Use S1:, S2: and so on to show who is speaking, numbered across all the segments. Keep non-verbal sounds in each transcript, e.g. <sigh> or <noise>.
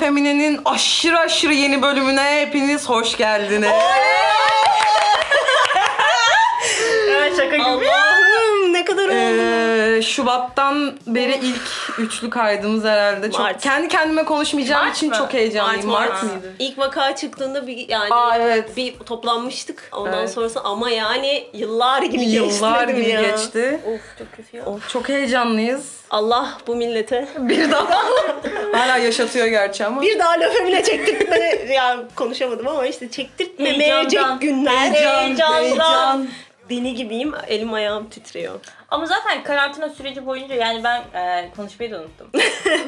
S1: Femine'nin aşırı aşırı yeni bölümüne hepiniz hoş geldiniz.
S2: Evet şaka gibi.
S3: Allah'ım ne kadar oldu.
S1: Ee, Şubat'tan beri ilk üçlü kaydımız herhalde. Çok,
S3: Mart.
S1: kendi kendime konuşmayacağım için
S2: mı?
S1: çok heyecanlıyım.
S3: Mart,
S1: Mart,
S3: Mart.
S1: mıydı?
S3: İlk vaka çıktığında bir yani
S1: Aa, evet.
S3: bir toplanmıştık. Ondan
S1: Evet.
S3: sonrası ama yani yıllar gibi geçti.
S1: Yıllar
S3: dedim
S1: gibi
S3: ya.
S1: geçti.
S3: Of çok kötü ya.
S1: Çok heyecanlıyız.
S3: Allah bu millete
S1: Bir daha. Hala yaşatıyor gerçi ama.
S3: bir daha lafı bile çektirtme <laughs> yani konuşamadım ama işte çektirtmemeyecek
S2: Heyecandan.
S3: günler.
S1: Heyecan, heyecan.
S3: Deli gibiyim. Elim ayağım titriyor.
S2: Ama zaten karantina süreci boyunca yani ben e, konuşmayı da unuttum.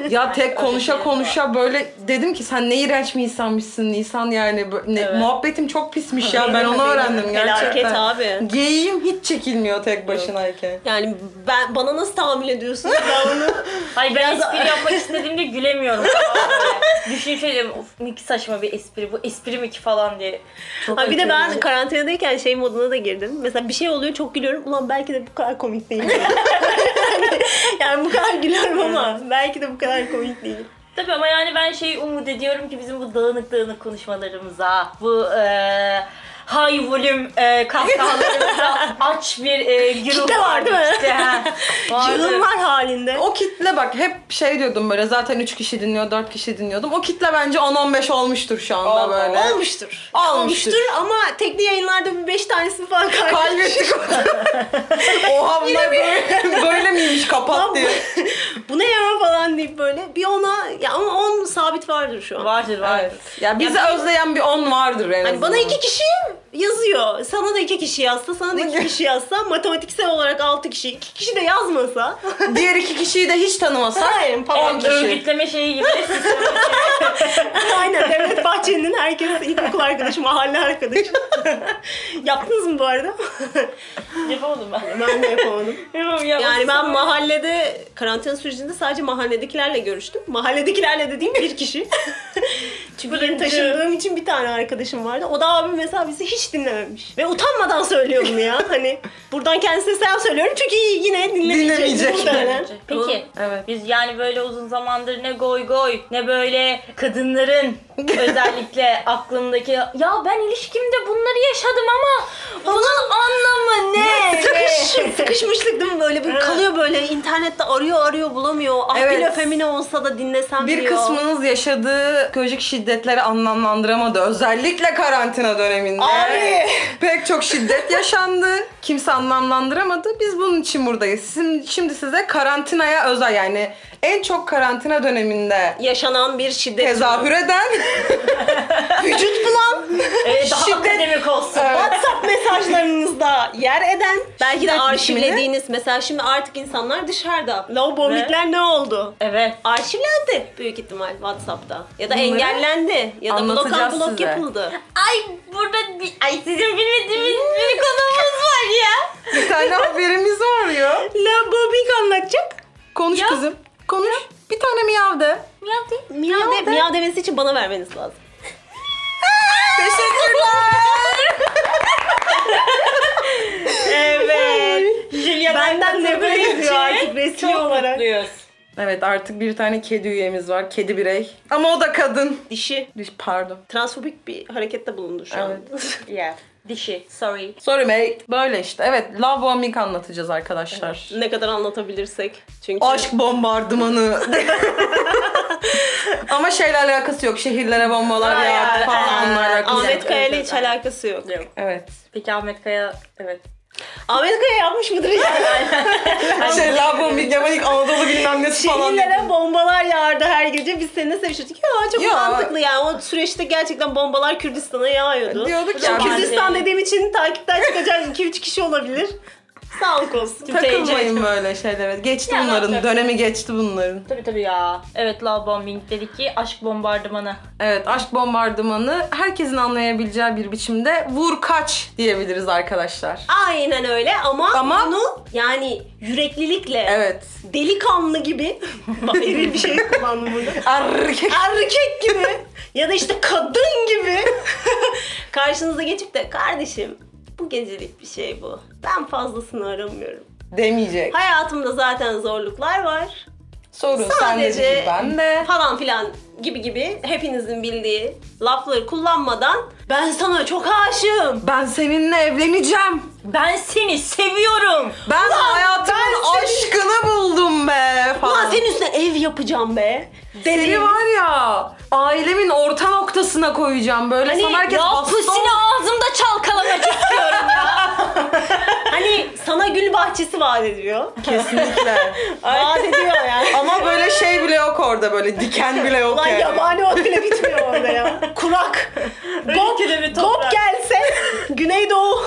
S1: Ya tek
S2: öyle
S1: konuşa
S2: değil.
S1: konuşa böyle dedim ki sen ne iğrenç bir insanmışsın Nisan yani Bö- ne-
S2: Evet.
S1: muhabbetim çok pismiş ya ben onu öğrendim
S3: Felaket
S1: gerçekten.
S3: abi.
S1: Geyiğim hiç çekilmiyor tek başınayken.
S3: Yani ben bana nasıl tahammül ediyorsunuz ben onu?
S2: Hayır Hani ben
S3: Biraz-
S2: espri yapmak istediğimde gülemiyorum. falan böyle. Düşünce diyorum of ne ki saçma bir espri bu espri mi ki falan diye.
S1: Çok
S3: Ha, bir de
S1: acayip.
S3: ben karantinadayken şey moduna da girdim. Mesela bir şey oluyor çok gülüyorum. Ulan belki de bu kadar komik değil. <laughs> yani bu kadar gülüyorum ama belki de bu kadar komik değil.
S2: Tabii ama yani ben şey umut ediyorum ki bizim bu dağınık dağınık konuşmalarımıza, bu e, high volüm e, kahkahalarımıza aç bir e, gürültü
S3: Kitle var değil mi?
S2: İşte, ha. Vardır.
S3: Cılımlar halinde.
S1: o kitle bak hep şey diyordum böyle zaten 3 kişi dinliyor 4 kişi dinliyordum. O kitle bence 10-15 olmuştur şu anda
S2: Allah.
S1: böyle.
S3: Olmuştur.
S1: Olmuştur.
S3: ama tekli yayınlarda bir beş tanesini
S1: <laughs>
S3: falan kaybettik.
S1: Kaybettik. Oha bunlar böyle, böyle miymiş kapat diye.
S3: bu ne ya falan deyip böyle bir ona ya ama on sabit vardır şu an.
S2: Vardır vardır.
S1: Evet. Ya bizi özleyen bir 10 vardır en
S3: Hani
S1: azından.
S3: <laughs> bana iki kişi yazıyor. Sana da iki kişi yazsa, sana da iki kişi yazsa, matematiksel olarak altı kişi, iki kişi de yazmasa.
S1: Diğer iki kişiyi de hiç tanımasak
S3: Hayır,
S1: on
S3: falan.
S1: kişi.
S2: E, Örgütleme şeyi gibi. <laughs>
S3: <laughs> Aynen Devlet Bahçeli'nin herkes ilkokul arkadaşı, mahalle arkadaşı. <laughs> Yaptınız mı bu arada?
S2: Yapamadım ben.
S3: <laughs> ben de yapamadım.
S2: Yapamadım.
S3: Yani ben mahallede, karantina sürecinde sadece mahalledekilerle görüştüm. Mahalledekilerle dediğim bir <laughs> kişi. Çünkü yeni taşındığım için bir tane arkadaşım vardı. O da abim mesela bizi hiç dinlememiş. Ve utanmadan söylüyor bunu ya. Hani buradan kendisine selam söylüyorum çünkü yine dinlemeyecek.
S1: Dinlemeyecek.
S3: muhtemelen.
S2: Peki.
S1: Evet.
S2: Biz yani böyle uzun zamandır ne goy goy ne böyle <laughs> kadınların özellikle aklındaki ya ben ilişkimde bunları yaşadım ama bunun anlamı ne? <laughs>
S3: Sıkış, sıkışmışlık değil mi böyle bir kalıyor böyle internette arıyor arıyor bulamıyor. Ah
S1: Evet.
S3: bir laf emine olsa da dinlesem
S1: Bir
S3: diyor.
S1: kısmınız yaşadığı psikolojik şiddetleri anlamlandıramadı. Özellikle karantina döneminde.
S3: Abi!
S1: Pek çok şiddet yaşandı. Kimse anlamlandıramadı. Biz bunun için buradayız. Sizin- Şimdi size karantinaya özel yani en çok karantina döneminde
S3: yaşanan bir şiddet.
S1: tezahür
S2: <laughs>
S1: eden
S3: Vücut bulan.
S2: Evet, E, Ee, daha
S1: Şiddet-
S2: akademik olsun.
S3: WhatsApp mesajlarınızda yer eden. Belki de
S1: Şiddet
S3: arşivlediğiniz. Mesela şimdi artık insanlar dışarıda. Lavabolikler ne oldu?
S2: Evet.
S3: Arşivlendi büyük ihtimal WhatsApp'ta. Ya da
S1: Bunları
S3: engellendi. Ya da blokan
S1: anlatacağız
S3: blok
S1: size.
S3: yapıldı.
S2: Ay burada bir, ay sizin bilmediğiniz bir konumuz var ya.
S1: bir
S2: <laughs>
S1: tane haberimiz var ya.
S3: Lavabobik anlatacak.
S1: Konuş
S2: Ya.
S1: kızım. Konuş. Bir tane miyav
S2: <laughs>
S1: de.
S2: Ya değil.
S3: Miyav, de, miyav demesi için bana vermeniz lazım.
S2: Evet. Julia'dan
S3: Benden
S2: katıldığı
S3: nefret ediyor
S2: için
S3: artık resmi
S2: çok
S3: olarak.
S2: mutluyuz.
S1: Evet artık bir tane kedi üyemiz var. Kedi birey. Ama o da kadın.
S3: Dişi.
S1: Pardon.
S3: Transfobik bir harekette bulundu şu an.
S2: Yeah. Dişi. Sorry.
S1: <laughs> Sorry mate. Böyle işte. Evet love bombing anlatacağız arkadaşlar.
S3: Ne kadar anlatabilirsek. Çünkü
S1: Aşk bombardımanı. Ama şeyle alakası yok. Şehirlere bombalar
S2: Ay, ay,
S1: yağdı falan
S2: ay,
S1: onunla
S2: ay.
S1: alakası
S3: Ahmet
S1: yok.
S3: Kaya ile hiç alakası yok.
S2: Yok.
S1: Evet.
S2: Peki Ahmet Kaya evet.
S3: Ahmet Kaya yapmış
S1: <laughs>
S3: mıdır ya?
S1: şey love bombing yaman ilk Anadolu bilmem nesi falan.
S3: Şehirlere şey bombalar yağardı her gece. Biz seninle sevişirdik. Ya çok
S1: Ya.
S3: mantıklı yani. O süreçte gerçekten bombalar Kürdistan'a yağıyordu.
S1: E, Diyorduk ya.
S3: Şimdi
S2: Romantik.
S3: Kürdistan dediğim için takipten çıkacak <laughs> 2-3 kişi olabilir. Sağlık olsun.
S1: Takılmayın böyle şeylere. Geçti
S2: Ya,
S1: bunların.
S2: yapacak.
S1: Dönemi geçti bunların.
S2: Tabii tabii ya. Evet Love Bombing dedi ki aşk bombardımanı.
S1: Evet aşk bombardımanı herkesin anlayabileceği bir biçimde vur kaç diyebiliriz arkadaşlar.
S3: Aynen öyle ama,
S1: Ama-
S3: bunu yani yüreklilikle
S1: Evet.
S3: delikanlı gibi <laughs> Hayır, bir şey kullandım burada.
S1: Erkek.
S3: erkek gibi ya da işte kadın gibi karşınıza geçip de kardeşim bu gecelik bir şey bu. Ben fazlasını aramıyorum.
S1: Demeyecek.
S3: Hayatımda zaten zorluklar var.
S1: Sorun sende değil ben de.
S3: falan filan gibi gibi hepinizin bildiği lafları kullanmadan ben sana çok aşığım.
S1: Ben seninle evleneceğim.
S2: Ben seni seviyorum.
S1: Ben hayatımın aşkını buldum be falan.
S3: Ulan senin üstüne ev yapacağım be.
S1: Seni var ya ailemin orta noktasına koyacağım böyle
S3: Hani
S1: sana herkes
S2: ya
S1: hasta
S2: pusini
S1: ol-
S2: ağzımda çalkalamak istiyorum ya.
S3: <laughs> Hani sana gül bahçesi vaat ediyor.
S1: Kesinlikle.
S3: vaat ediyor
S1: <laughs>
S3: yani.
S1: Ama böyle şey bile yok orada böyle diken bile yok
S3: Ulan
S1: yani.
S3: yabani ot
S1: <laughs>
S3: bile bitmiyor orada ya. Kurak. Gop,
S2: Ülkede bir
S3: gop
S2: toprak.
S3: gelse Güneydoğu.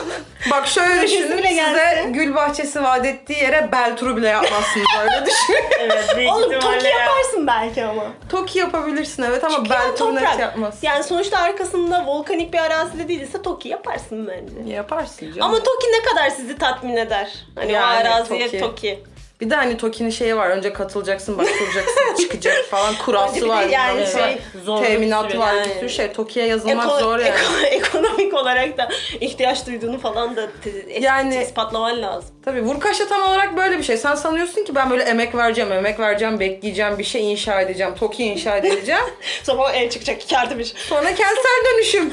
S1: Bak şöyle
S3: Projesi
S1: düşünün
S3: bile
S1: size
S3: gelse.
S1: gül bahçesi vaat ettiği yere bel turu bile yapmazsınız öyle düşünün.
S2: evet büyük
S3: Oğlum Toki yaparsın belki ama.
S1: Toki yapabilirsin evet ama
S3: Çünkü
S1: bel
S3: yani
S1: turu net
S3: toprak.
S1: yapmazsın.
S3: Yani sonuçta arkasında volkanik bir arazide değilse Toki yaparsın bence.
S1: Yaparsın canım.
S3: Ama Toki ne kadar sizi tatmin eder? Hani
S1: Yani
S3: o araziye
S1: Toki.
S3: Toki.
S1: bir de hani Toki'nin şeyi var önce katılacaksın
S3: <laughs>
S1: başvuracaksın çıkacak falan
S3: Önce
S1: kurası
S3: bir de
S1: var.
S3: yani
S1: bilmem ne
S3: şey,
S1: var.
S2: zorlu bir
S1: teminatı
S2: süre
S1: var bir
S3: yani.
S1: sürü şey. Toki'ye yazılmak
S3: Eko-
S1: zor yani.
S3: eko- <laughs> ekonomik olarak da ihtiyaç duyduğunu falan da te-
S1: Yani-
S3: ispatlaman lazım.
S1: Tabii vurkaşa tam olarak böyle bir şey. Sen sanıyorsun ki ben böyle emek vereceğim, emek vereceğim, bekleyeceğim, bir şey inşa edeceğim, TOKİ inşa edeceğim.
S3: <laughs> Sonra el çıkacak iki artı bir.
S1: Sonra kentsel
S3: <laughs>
S1: dönüşüm.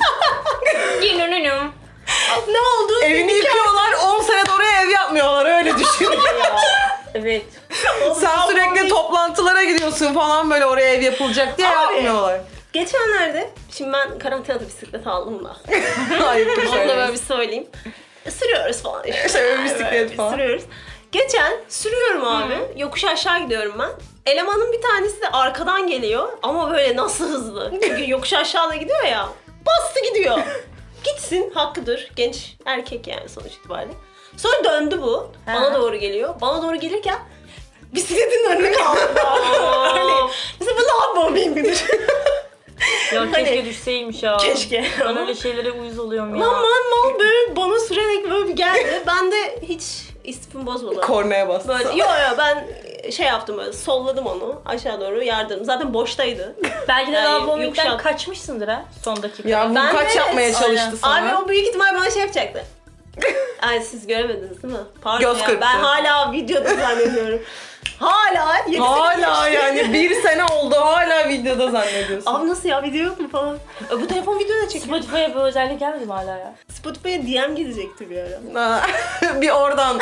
S2: Yinununum.
S3: ne oldu?
S1: Evini yıkıyorlar, 10 senede oraya ev yapmıyorlar
S3: <laughs>
S1: öyle düşün.
S2: Evet.
S1: Sen sürekli toplantılara gidiyorsun falan böyle oraya ev yapılacak diye
S3: Abi. <laughs>
S1: yapmıyorlar.
S3: Geçenlerde, şimdi ben karantinada bisiklet aldım da.
S1: Ayıptır
S3: Onu da böyle
S1: söylemesi.
S3: bir söyleyeyim. Sürüyoruz falan işte.
S1: İşte böyle
S3: Böyle
S1: bisiklet
S3: bir
S1: falan.
S3: Sürüyoruz. Geçen sürüyorum abi. Yokuş aşağı gidiyorum ben. Elemanın bir tanesi de arkadan geliyor ama böyle nasıl hızlı. Çünkü yokuş aşağıda gidiyor ya. Bastı gidiyor. Gitsin hakkıdır. Genç erkek yani sonuç itibariyle. Sonra döndü bu. Bana doğru geliyor. Bana doğru gelirken bisikletin önüne kaldı. hani, mesela bu ne yapmamıyım midir?
S2: Ya keşke
S3: Hani-
S2: düşseymiş ya.
S3: Keşke.
S2: Ben öyle şeylere uyuz oluyorum ya.
S3: Lan man mal böyle bana sürerek böyle bir geldi. Ben de hiç istifim bozmadı.
S1: Kornaya bastı.
S3: Böyle yo yo ben şey yaptım böyle solladım onu aşağı doğru yardım. Zaten boştaydı.
S2: Belki de
S3: Yani
S2: daha bombikten
S3: yumuşak.
S2: kaçmışsındır ha son dakika.
S1: Ya
S3: Ben
S1: vurkaç
S3: de-
S1: yapmaya
S2: Aynen.
S1: çalıştı sana.
S3: Abi o büyük ihtimal bana şey yapacaktı. Ay siz göremediniz değil mi? Pardon
S1: Göz
S3: ya,
S1: kırptı.
S3: ben hala videoda zannediyorum. hala. yedi
S1: Hala
S3: sekiz yaş-
S1: yani bir sene oldu hala videoda zannediyorsun.
S3: Abi nasıl ya video yok mu falan. E, bu telefon video da çekiyor.
S2: Spotify'a bu özellik gelmedi mi hala ya?
S3: Spotify'a DM gidecekti bir ara.
S1: Ha, <laughs> bir oradan,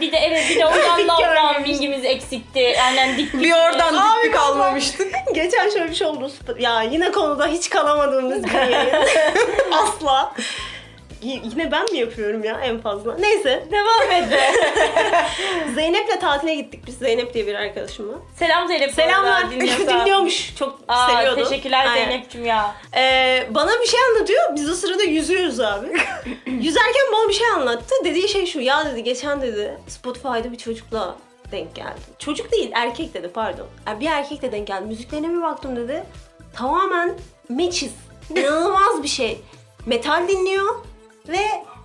S2: Bir de evet bir de oradan davran
S3: Görmemiş.
S2: bingimiz eksikti. Aynen dik
S1: bir oradan
S3: Abi
S1: diklik
S3: kapat.
S1: almamıştık.
S3: Geçen şöyle bir şey oldu. Sp- Ya yine konuda hiç kalamadığımız bir
S2: <laughs>
S3: yayın. Asla. Y- yine ben mi yapıyorum ya en fazla? Neyse.
S2: Devam et be.
S3: Zeynep'le tatile gittik biz. Zeynep diye bir arkadaşımla.
S2: Selam Zeynep. bu
S3: Selamlar.
S2: <laughs> arada dinliyorsa.
S3: <laughs> Dinliyormuş. Çok
S2: Aa,
S3: seviyordu.
S2: Teşekkürler
S3: Aynen.
S2: Zeynep'cim ya.
S3: Ee, bana bir şey anlatıyor. Biz o sırada yüzüyoruz abi. Yüzerken bana bir şey anlattı. Dediği şey şu. Ya dedi geçen dedi Spotify'da bir çocukla denk geldi. Çocuk değil erkek dedi pardon. Yani bir erkekle denk geldi. Müziklerine bir baktım dedi. Tamamen meçiz. İnanılmaz bir şey. Metal dinliyor ve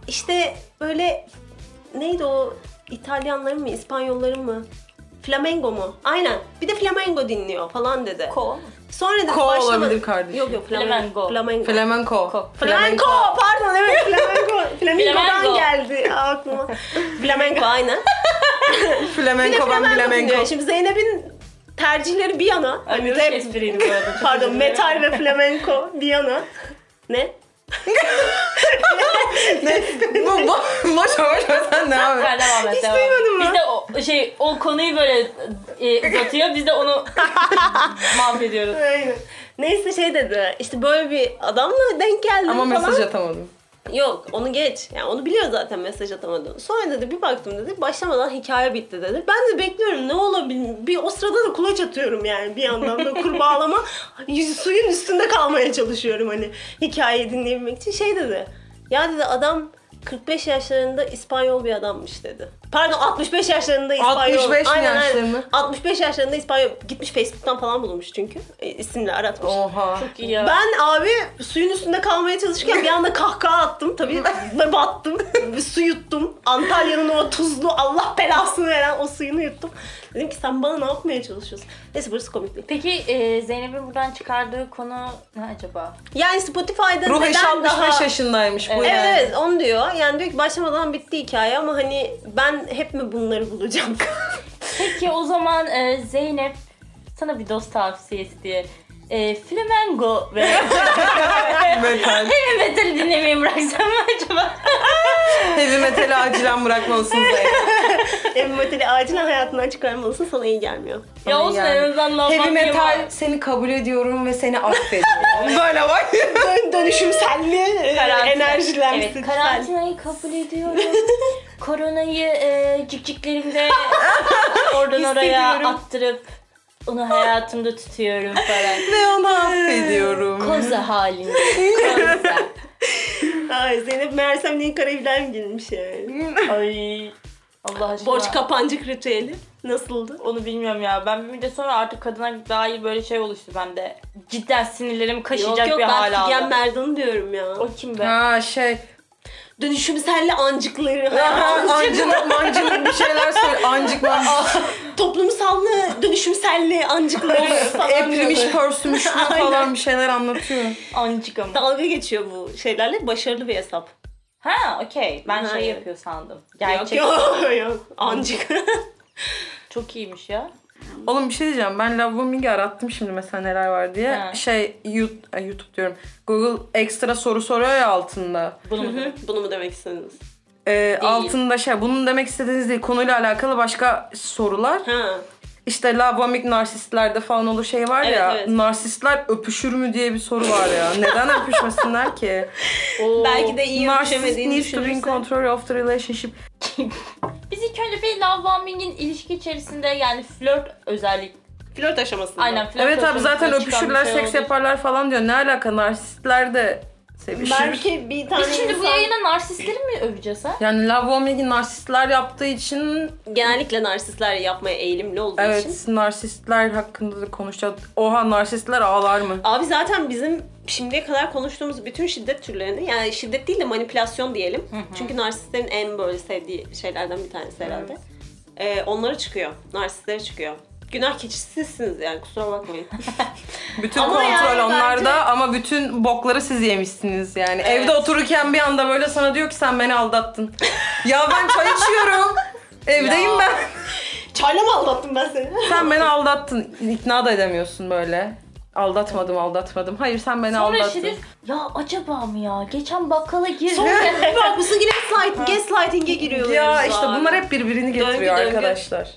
S3: işte böyle neydi o İtalyanların mı İspanyolların mı? Flamengo mu? Aynen. Bir de flamengo dinliyor falan dedi.
S2: Ko.
S3: Sonra dedi
S1: Ko
S3: başlama-
S1: olabilir kardeşim.
S3: Yok yok flamenco.
S2: Flamengo.
S3: Flamengo.
S1: Flamenco.
S2: Ko.
S3: Flamenco. Pardon evet <laughs> flamenco. Flamenco'dan
S2: Flamengo.
S3: geldi aklıma. flamenco aynen. Bir de
S1: Flamenco ben
S3: flamenco dinliyor.
S1: flamenco.
S3: Şimdi Zeynep'in tercihleri bir yana.
S2: Hani
S3: rap-
S2: espriydi bu arada.
S3: Pardon metal ve flamenco bir yana. Ne?
S1: Bu bu- boş ver, boş ver, sen devam et.
S2: Ha, devam et,
S3: Hiç
S2: devam et.
S3: duymadın mı?
S2: Biz de o, şey, o konuyu böyle e, uzatıyor. Biz de onu mahvediyoruz.
S3: Aynen. Neyse şey dedi. işte böyle bir adamla denk geldim
S1: Ama
S3: falan.
S1: mesaj atamadım.
S3: Yok onu geç. Yani onu biliyor zaten mesaj atamadığını. Sonra dedi bir baktım dedi başlamadan hikaye bitti dedi. Ben de bekliyorum ne olabilir. Bir o sırada da kulaç atıyorum yani bir yandan da kurbağalama. <laughs> yüz, suyun üstünde kalmaya çalışıyorum hani hikayeyi dinleyebilmek için. Şey dedi. Ya dedi adam 45 yaşlarında İspanyol bir adammış dedi. Pardon 65 yaşlarında İspanyol.
S1: 65 mi
S3: Aynen, aynen.
S1: yaşları mı?
S3: 65 yaşlarında İspanyol. Gitmiş Facebook'tan falan bulmuş çünkü. E, isimle aratmış.
S1: Oha.
S2: Çok iyi ya.
S3: Ben abi suyun üstünde kalmaya çalışırken bir anda kahkaha attım tabii
S1: <laughs>
S3: ve battım. Bir su yuttum. Antalya'nın o tuzlu Allah belasını veren o suyunu yuttum. Dedim ki sen bana ne yapmaya çalışıyorsun? Neyse burası komik değil.
S2: Peki e, Zeynep'in buradan çıkardığı konu ne acaba?
S3: Yani Spotify'da
S1: Ruh eşi
S3: neden
S1: 65
S3: daha...
S1: yaşındaymış bu
S2: Evet,
S1: yani.
S3: Evet evet onu diyor. Yani diyor ki başlamadan bitti hikaye ama hani ben hep mi bunları bulacağım? <laughs>
S2: Peki o zaman e, Zeynep sana bir dost tavsiyesi diye. E, flamengo ve
S1: <laughs> Metal.
S2: heavy metal dinlemeyi bıraksam mı acaba?
S1: Heavy metal'i acilen bırakmalısın Zeynep.
S3: Ev metali acilen hayatından çıkarmalısın sana iyi gelmiyor.
S2: ya olsun
S1: Yani.
S2: en azından normal
S1: Heavy
S2: bir
S1: metal
S2: var.
S1: seni kabul ediyorum ve seni
S3: <laughs>
S1: affediyorum. Böyle bak.
S3: Dön- Dönüşümselli e,
S2: Karantina.
S3: enerjilenmişsin.
S2: Evet, karantinayı kabul <laughs> ediyorum. Koronayı e, <laughs> cikciklerimde oradan oraya
S3: Hissediyorum.
S2: attırıp onu hayatımda tutuyorum falan. <laughs>
S1: ve onu affediyorum.
S2: Koza halinde. Koza.
S3: Ay Zeynep meğersem neyin karayülen girmiş yani.
S2: Ay Allah aşkına.
S3: Borç kapancık ritüeli nasıldı?
S2: Onu bilmiyorum ya. Ben bir müddet sonra artık kadına dair böyle şey oluştu bende. Cidden sinirlerim
S3: yok
S2: kaşıyacak
S3: yok
S2: bir
S3: ben
S2: hal aldı.
S3: Figen Merdan'ı diyorum ya.
S2: O kim be?
S1: Ha şey.
S3: Dönüşümselli <laughs> ancıkları.
S1: Aha, ancılık <laughs> mancılık bir şeyler söyle. Ancık mancılık.
S3: Toplumsallı dönüşümselli ancıkları falan
S1: Eprimiş
S3: diyordu.
S1: pörsümüş mü
S3: <laughs> Aynen.
S1: falan bir şeyler anlatıyor.
S2: Ancık ama.
S3: Dalga geçiyor bu şeylerle başarılı bir hesap.
S2: Ha okey. Ben
S3: Ha,
S2: şey
S3: evet.
S2: yapıyor sandım. Gerçek.
S3: Yok yok yok. Ancık.
S2: Çok iyiymiş ya.
S1: Oğlum bir şey diyeceğim. Ben Love Bombing'i arattım şimdi mesela neler var diye.
S2: Ha.
S1: Şey YouTube, ay, YouTube diyorum. Google ekstra soru soruyor ya altında.
S2: Bunu mu
S3: <laughs>
S2: demek?
S3: Bunu mu demek istediniz?
S1: Ee, altında şey bunun demek istediğiniz değil. Konuyla alakalı başka sorular.
S3: Ha.
S1: İşte labamik narsistlerde falan olur şey var
S3: Evet,
S1: ya.
S3: evet.
S1: Narsistler öpüşür mü diye bir soru var ya. Neden öpüşmesinler ki? Oo.
S3: Belki de iyi
S1: Narsist
S3: öpüşemediğini
S1: needs to be in
S3: düşünürsen.
S1: control of the relationship.
S2: Biz ilk önce bir love bombing'in ilişki içerisinde yani flört özellik.
S3: Flört aşamasında.
S2: Aynen flört
S1: evet abi
S2: ortamında
S1: zaten
S2: çıkan
S1: öpüşürler,
S2: bir şey
S1: seks
S2: oldu.
S1: yaparlar falan diyor. Ne alaka narsistler de sevişir.
S3: Belki bir tane
S2: Biz şimdi bu
S3: insan-
S2: yayına narsistleri mi öveceğiz ha?
S1: Yani Love Bombing'i narsistler yaptığı için
S3: genellikle narsistler yapmaya eğilimli olduğu
S1: evet
S3: için.
S1: narsistler hakkında da konuşacağız. Oha narsistler ağlar mı?
S3: Abi zaten bizim şimdiye kadar konuştuğumuz bütün şiddet türlerini yani şiddet değil de manipülasyon diyelim. Çünkü narsistlerin en böyle sevdiği şeylerden bir tanesi herhalde. Ee, onlara çıkıyor. Narsistlere çıkıyor. Günah keçisi sizsiniz yani kusura bakmayın. <laughs>
S1: Bütün
S3: Ama
S1: kontrol
S3: yani
S1: onlarda
S3: bence-
S1: ama bütün bokları siz yemişsiniz yani. Evde otururken bir anda böyle sana diyor ki sen beni
S2: <laughs>
S1: aldattın. ya ben çay içiyorum. Evdeyim
S2: Ya.
S1: ben.
S3: Çayla mı aldattım ben <laughs> seni?
S1: Sen beni aldattın. İkna da edemiyorsun böyle. Aldatmadım, aldatmadım. Hayır sen beni
S2: Sonra
S1: aldattın.
S2: Şerif ya acaba mı ya? Geçen bakkala girdim.
S3: Bir bakmışsın yine gaslight, gaslighting'e giriyoruz.
S1: Ya işte
S3: abi.
S1: bunlar hep birbirini
S3: Döngü,
S1: getiriyor
S3: döngü.
S1: arkadaşlar.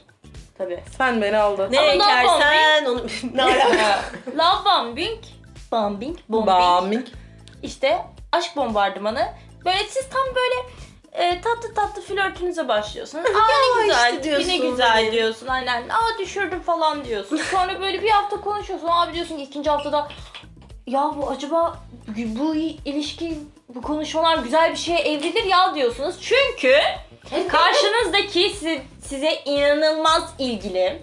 S2: Tabii.
S1: Sen beni aldattın.
S3: ne
S2: Ama ne
S3: ekersen onu <laughs> ne alaka?
S2: <laughs> love bombing, bombing, bombing.
S1: Bombing.
S2: İşte aşk bombardımanı. Böyle siz tam böyle e, tatlı tatlı
S3: <laughs>
S2: flörtünüze başlıyorsunuz. Aa ne
S3: Ya
S2: güzel,
S3: işte diyorsun
S2: yine güzel
S3: hani.
S2: diyorsun aynen. Aa düşürdüm falan diyorsun. Sonra böyle bir hafta konuşuyorsun. Abi diyorsun ki ikinci haftada ya bu acaba bu ilişki, bu konuşmalar güzel bir şeye evrilir ya diyorsunuz. Çünkü karşınızdaki si- size inanılmaz ilgili.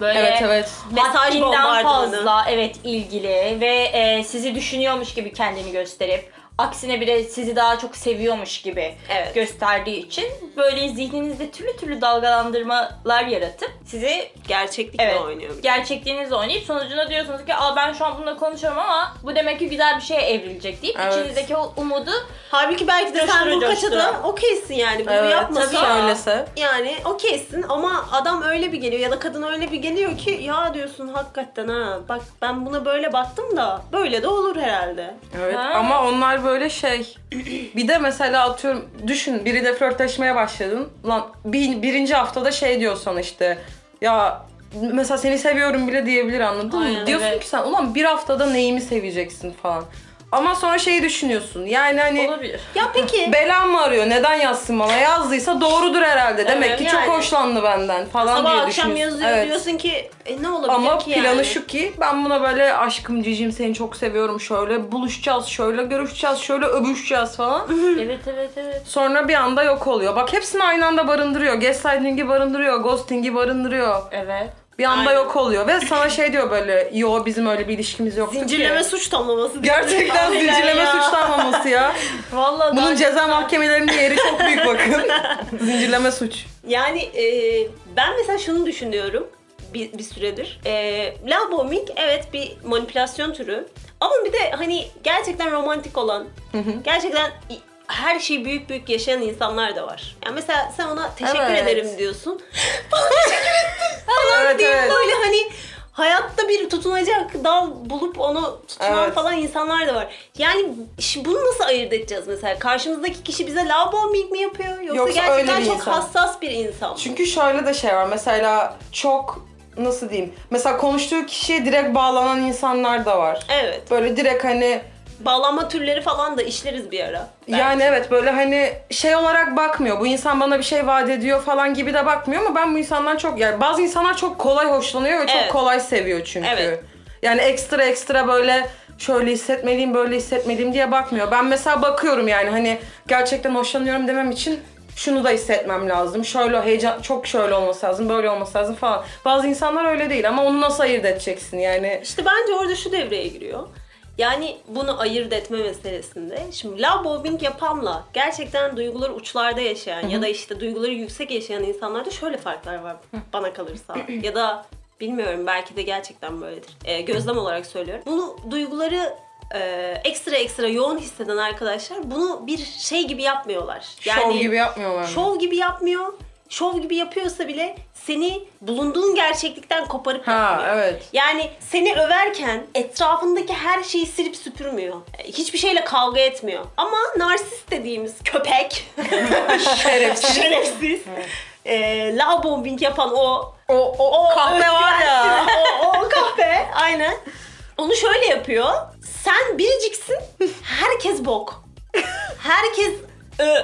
S2: Böyle
S1: Evet evet.
S3: Mesaj
S2: haddinden
S3: bombardımanı.
S2: fazla evet ilgili ve e, sizi düşünüyormuş gibi kendini gösterip aksine bir de sizi daha çok seviyormuş gibi
S3: Evet.
S2: gösterdiği için böyle zihninizde türlü türlü dalgalandırmalar yaratıp sizi
S3: Gerçeklikle
S2: evet
S3: oynuyor.
S2: gerçekliğinizle oynayıp sonucunda diyorsunuz ki Aa, ben şu an bununla konuşuyorum ama bu demek ki güzel bir şeye evrilecek deyip
S1: Evet.
S2: içinizdeki o umudu
S3: Halbuki belki de sen
S2: Coştura,
S3: bu kaçada
S2: coştura.
S3: okeysin yani. Bunu
S1: Evet,
S3: yapmasa.
S1: tabii söylese.
S3: Yani okeysin ama adam öyle bir geliyor ya da kadın öyle bir geliyor ki ya diyorsun hakikaten ha bak ben buna böyle baktım da böyle de olur herhalde.
S1: Evet
S2: Ha.
S1: ama onlar böyle şey. Bir de mesela atıyorum düşün biri de flörtleşmeye başladın. Lan bir- birinci haftada şey diyor sana işte. Ya mesela seni seviyorum bile diyebilir anladın
S2: Aynen,
S1: mı? Diyorsun
S2: evet.
S1: ki sen ulan bir haftada neyimi seveceksin falan. Ama sonra şeyi düşünüyorsun. Yani hani
S2: olabilir.
S3: Ya peki
S1: belan mı arıyor? Neden yazsın bana? Yazdıysa doğrudur herhalde. Demek
S3: Evet,
S1: ki
S3: yani.
S1: çok hoşlandı benden falan
S3: sabah
S1: diye
S3: akşam
S1: düşünüyorsun.
S3: yazıyor
S1: Evet.
S3: diyorsun ki e, ne olabilir
S1: Ama
S3: ki
S1: planı
S3: yani?
S1: şu ki ben buna böyle aşkım cicim seni çok seviyorum şöyle buluşacağız şöyle görüşeceğiz şöyle öbüşeceğiz falan.
S2: evet evet evet.
S1: Sonra bir anda yok oluyor. Bak hepsini aynı anda barındırıyor. Gaslighting'i barındırıyor, ghosting'i barındırıyor.
S2: Evet.
S1: Bir anda
S3: Aynen.
S1: yok oluyor ve sana şey diyor böyle yo bizim öyle bir ilişkimiz yoktu
S3: Zincirleme
S1: ki.
S3: suç tamlaması. diyor.
S1: Gerçekten
S3: Aynen
S1: zincirleme
S3: ya.
S1: suçlanmaması
S3: <laughs>
S1: ya.
S2: Vallahi
S1: Bunun
S2: daha-
S1: ceza mahkemelerinin yeri çok büyük <laughs> bakın. zincirleme suç.
S3: Yani e, ben mesela şunu düşünüyorum bir, bir süredir. E, love bombing evet bir manipülasyon türü. Ama bir de hani gerçekten romantik olan, gerçekten i- her şeyi büyük büyük yaşayan insanlar da var. Yani mesela sen ona teşekkür
S1: Evet.
S3: ederim diyorsun.
S1: evet
S3: Deyip
S1: evet.
S3: böyle hani hayatta bir tutunacak dal bulup onu tutunan
S1: Evet.
S3: falan insanlar da var. Yani şi- bunu nasıl ayırt edeceğiz mesela? Karşımızdaki kişi bize love bombing mi yapıyor yoksa,
S1: Yoksa öyle
S3: gerçekten
S1: bir
S3: çok
S1: insan.
S3: hassas bir insan mı?
S1: Çünkü şöyle de şey var. Mesela çok nasıl diyeyim? Mesela konuştuğu kişiye direkt bağlanan insanlar da var.
S3: Evet.
S1: Böyle direkt hani
S3: Bağlanma türleri falan da işleriz bir ara. belki.
S1: yani evet böyle hani şey olarak bakmıyor. Bu insan bana bir şey vaat ediyor falan gibi de bakmıyor ama ben bu insandan çok yani bazı insanlar çok kolay hoşlanıyor ve çok
S3: Evet.
S1: kolay seviyor çünkü.
S3: Evet.
S1: Yani ekstra ekstra böyle şöyle hissetmeliyim, böyle hissetmeliyim diye bakmıyor. Ben mesela bakıyorum yani hani gerçekten hoşlanıyorum demem için şunu da hissetmem lazım. Şöyle heyecan çok şöyle olması lazım, böyle olması lazım falan. Bazı insanlar öyle değil ama onu nasıl ayırt edeceksin yani?
S3: İşte bence orada şu devreye giriyor. Yani bunu ayırt etme meselesinde. Şimdi love bombing yapanla gerçekten duyguları uçlarda yaşayan ya da işte duyguları yüksek yaşayan insanlarda şöyle farklar var
S1: <clears throat>
S3: bana kalırsa. ya da bilmiyorum belki de gerçekten böyledir. Ee, gözlem olarak söylüyorum. Bunu duyguları e, ekstra ekstra yoğun hisseden arkadaşlar bunu bir şey gibi yapmıyorlar.
S1: şov gibi yapmıyorlar. mı?
S3: Şov gibi yapmıyor. Şov gibi yapıyorsa bile seni bulunduğun gerçeklikten koparıp
S1: Ha
S3: yapmıyor.
S1: evet.
S3: Yani seni överken etrafındaki her şeyi silip süpürmüyor. E, Hiçbir şeyle kavga etmiyor. Ama narsist dediğimiz
S1: <laughs>
S3: köpek, <laughs>
S1: Şerefsiz.
S3: şerefsiz, eee love bombing yapan o
S1: O, o, kahve var ya. <laughs>
S3: o, o kahve aynen. Onu şöyle yapıyor. Sen biriciksin. Herkes bok. Herkes ö.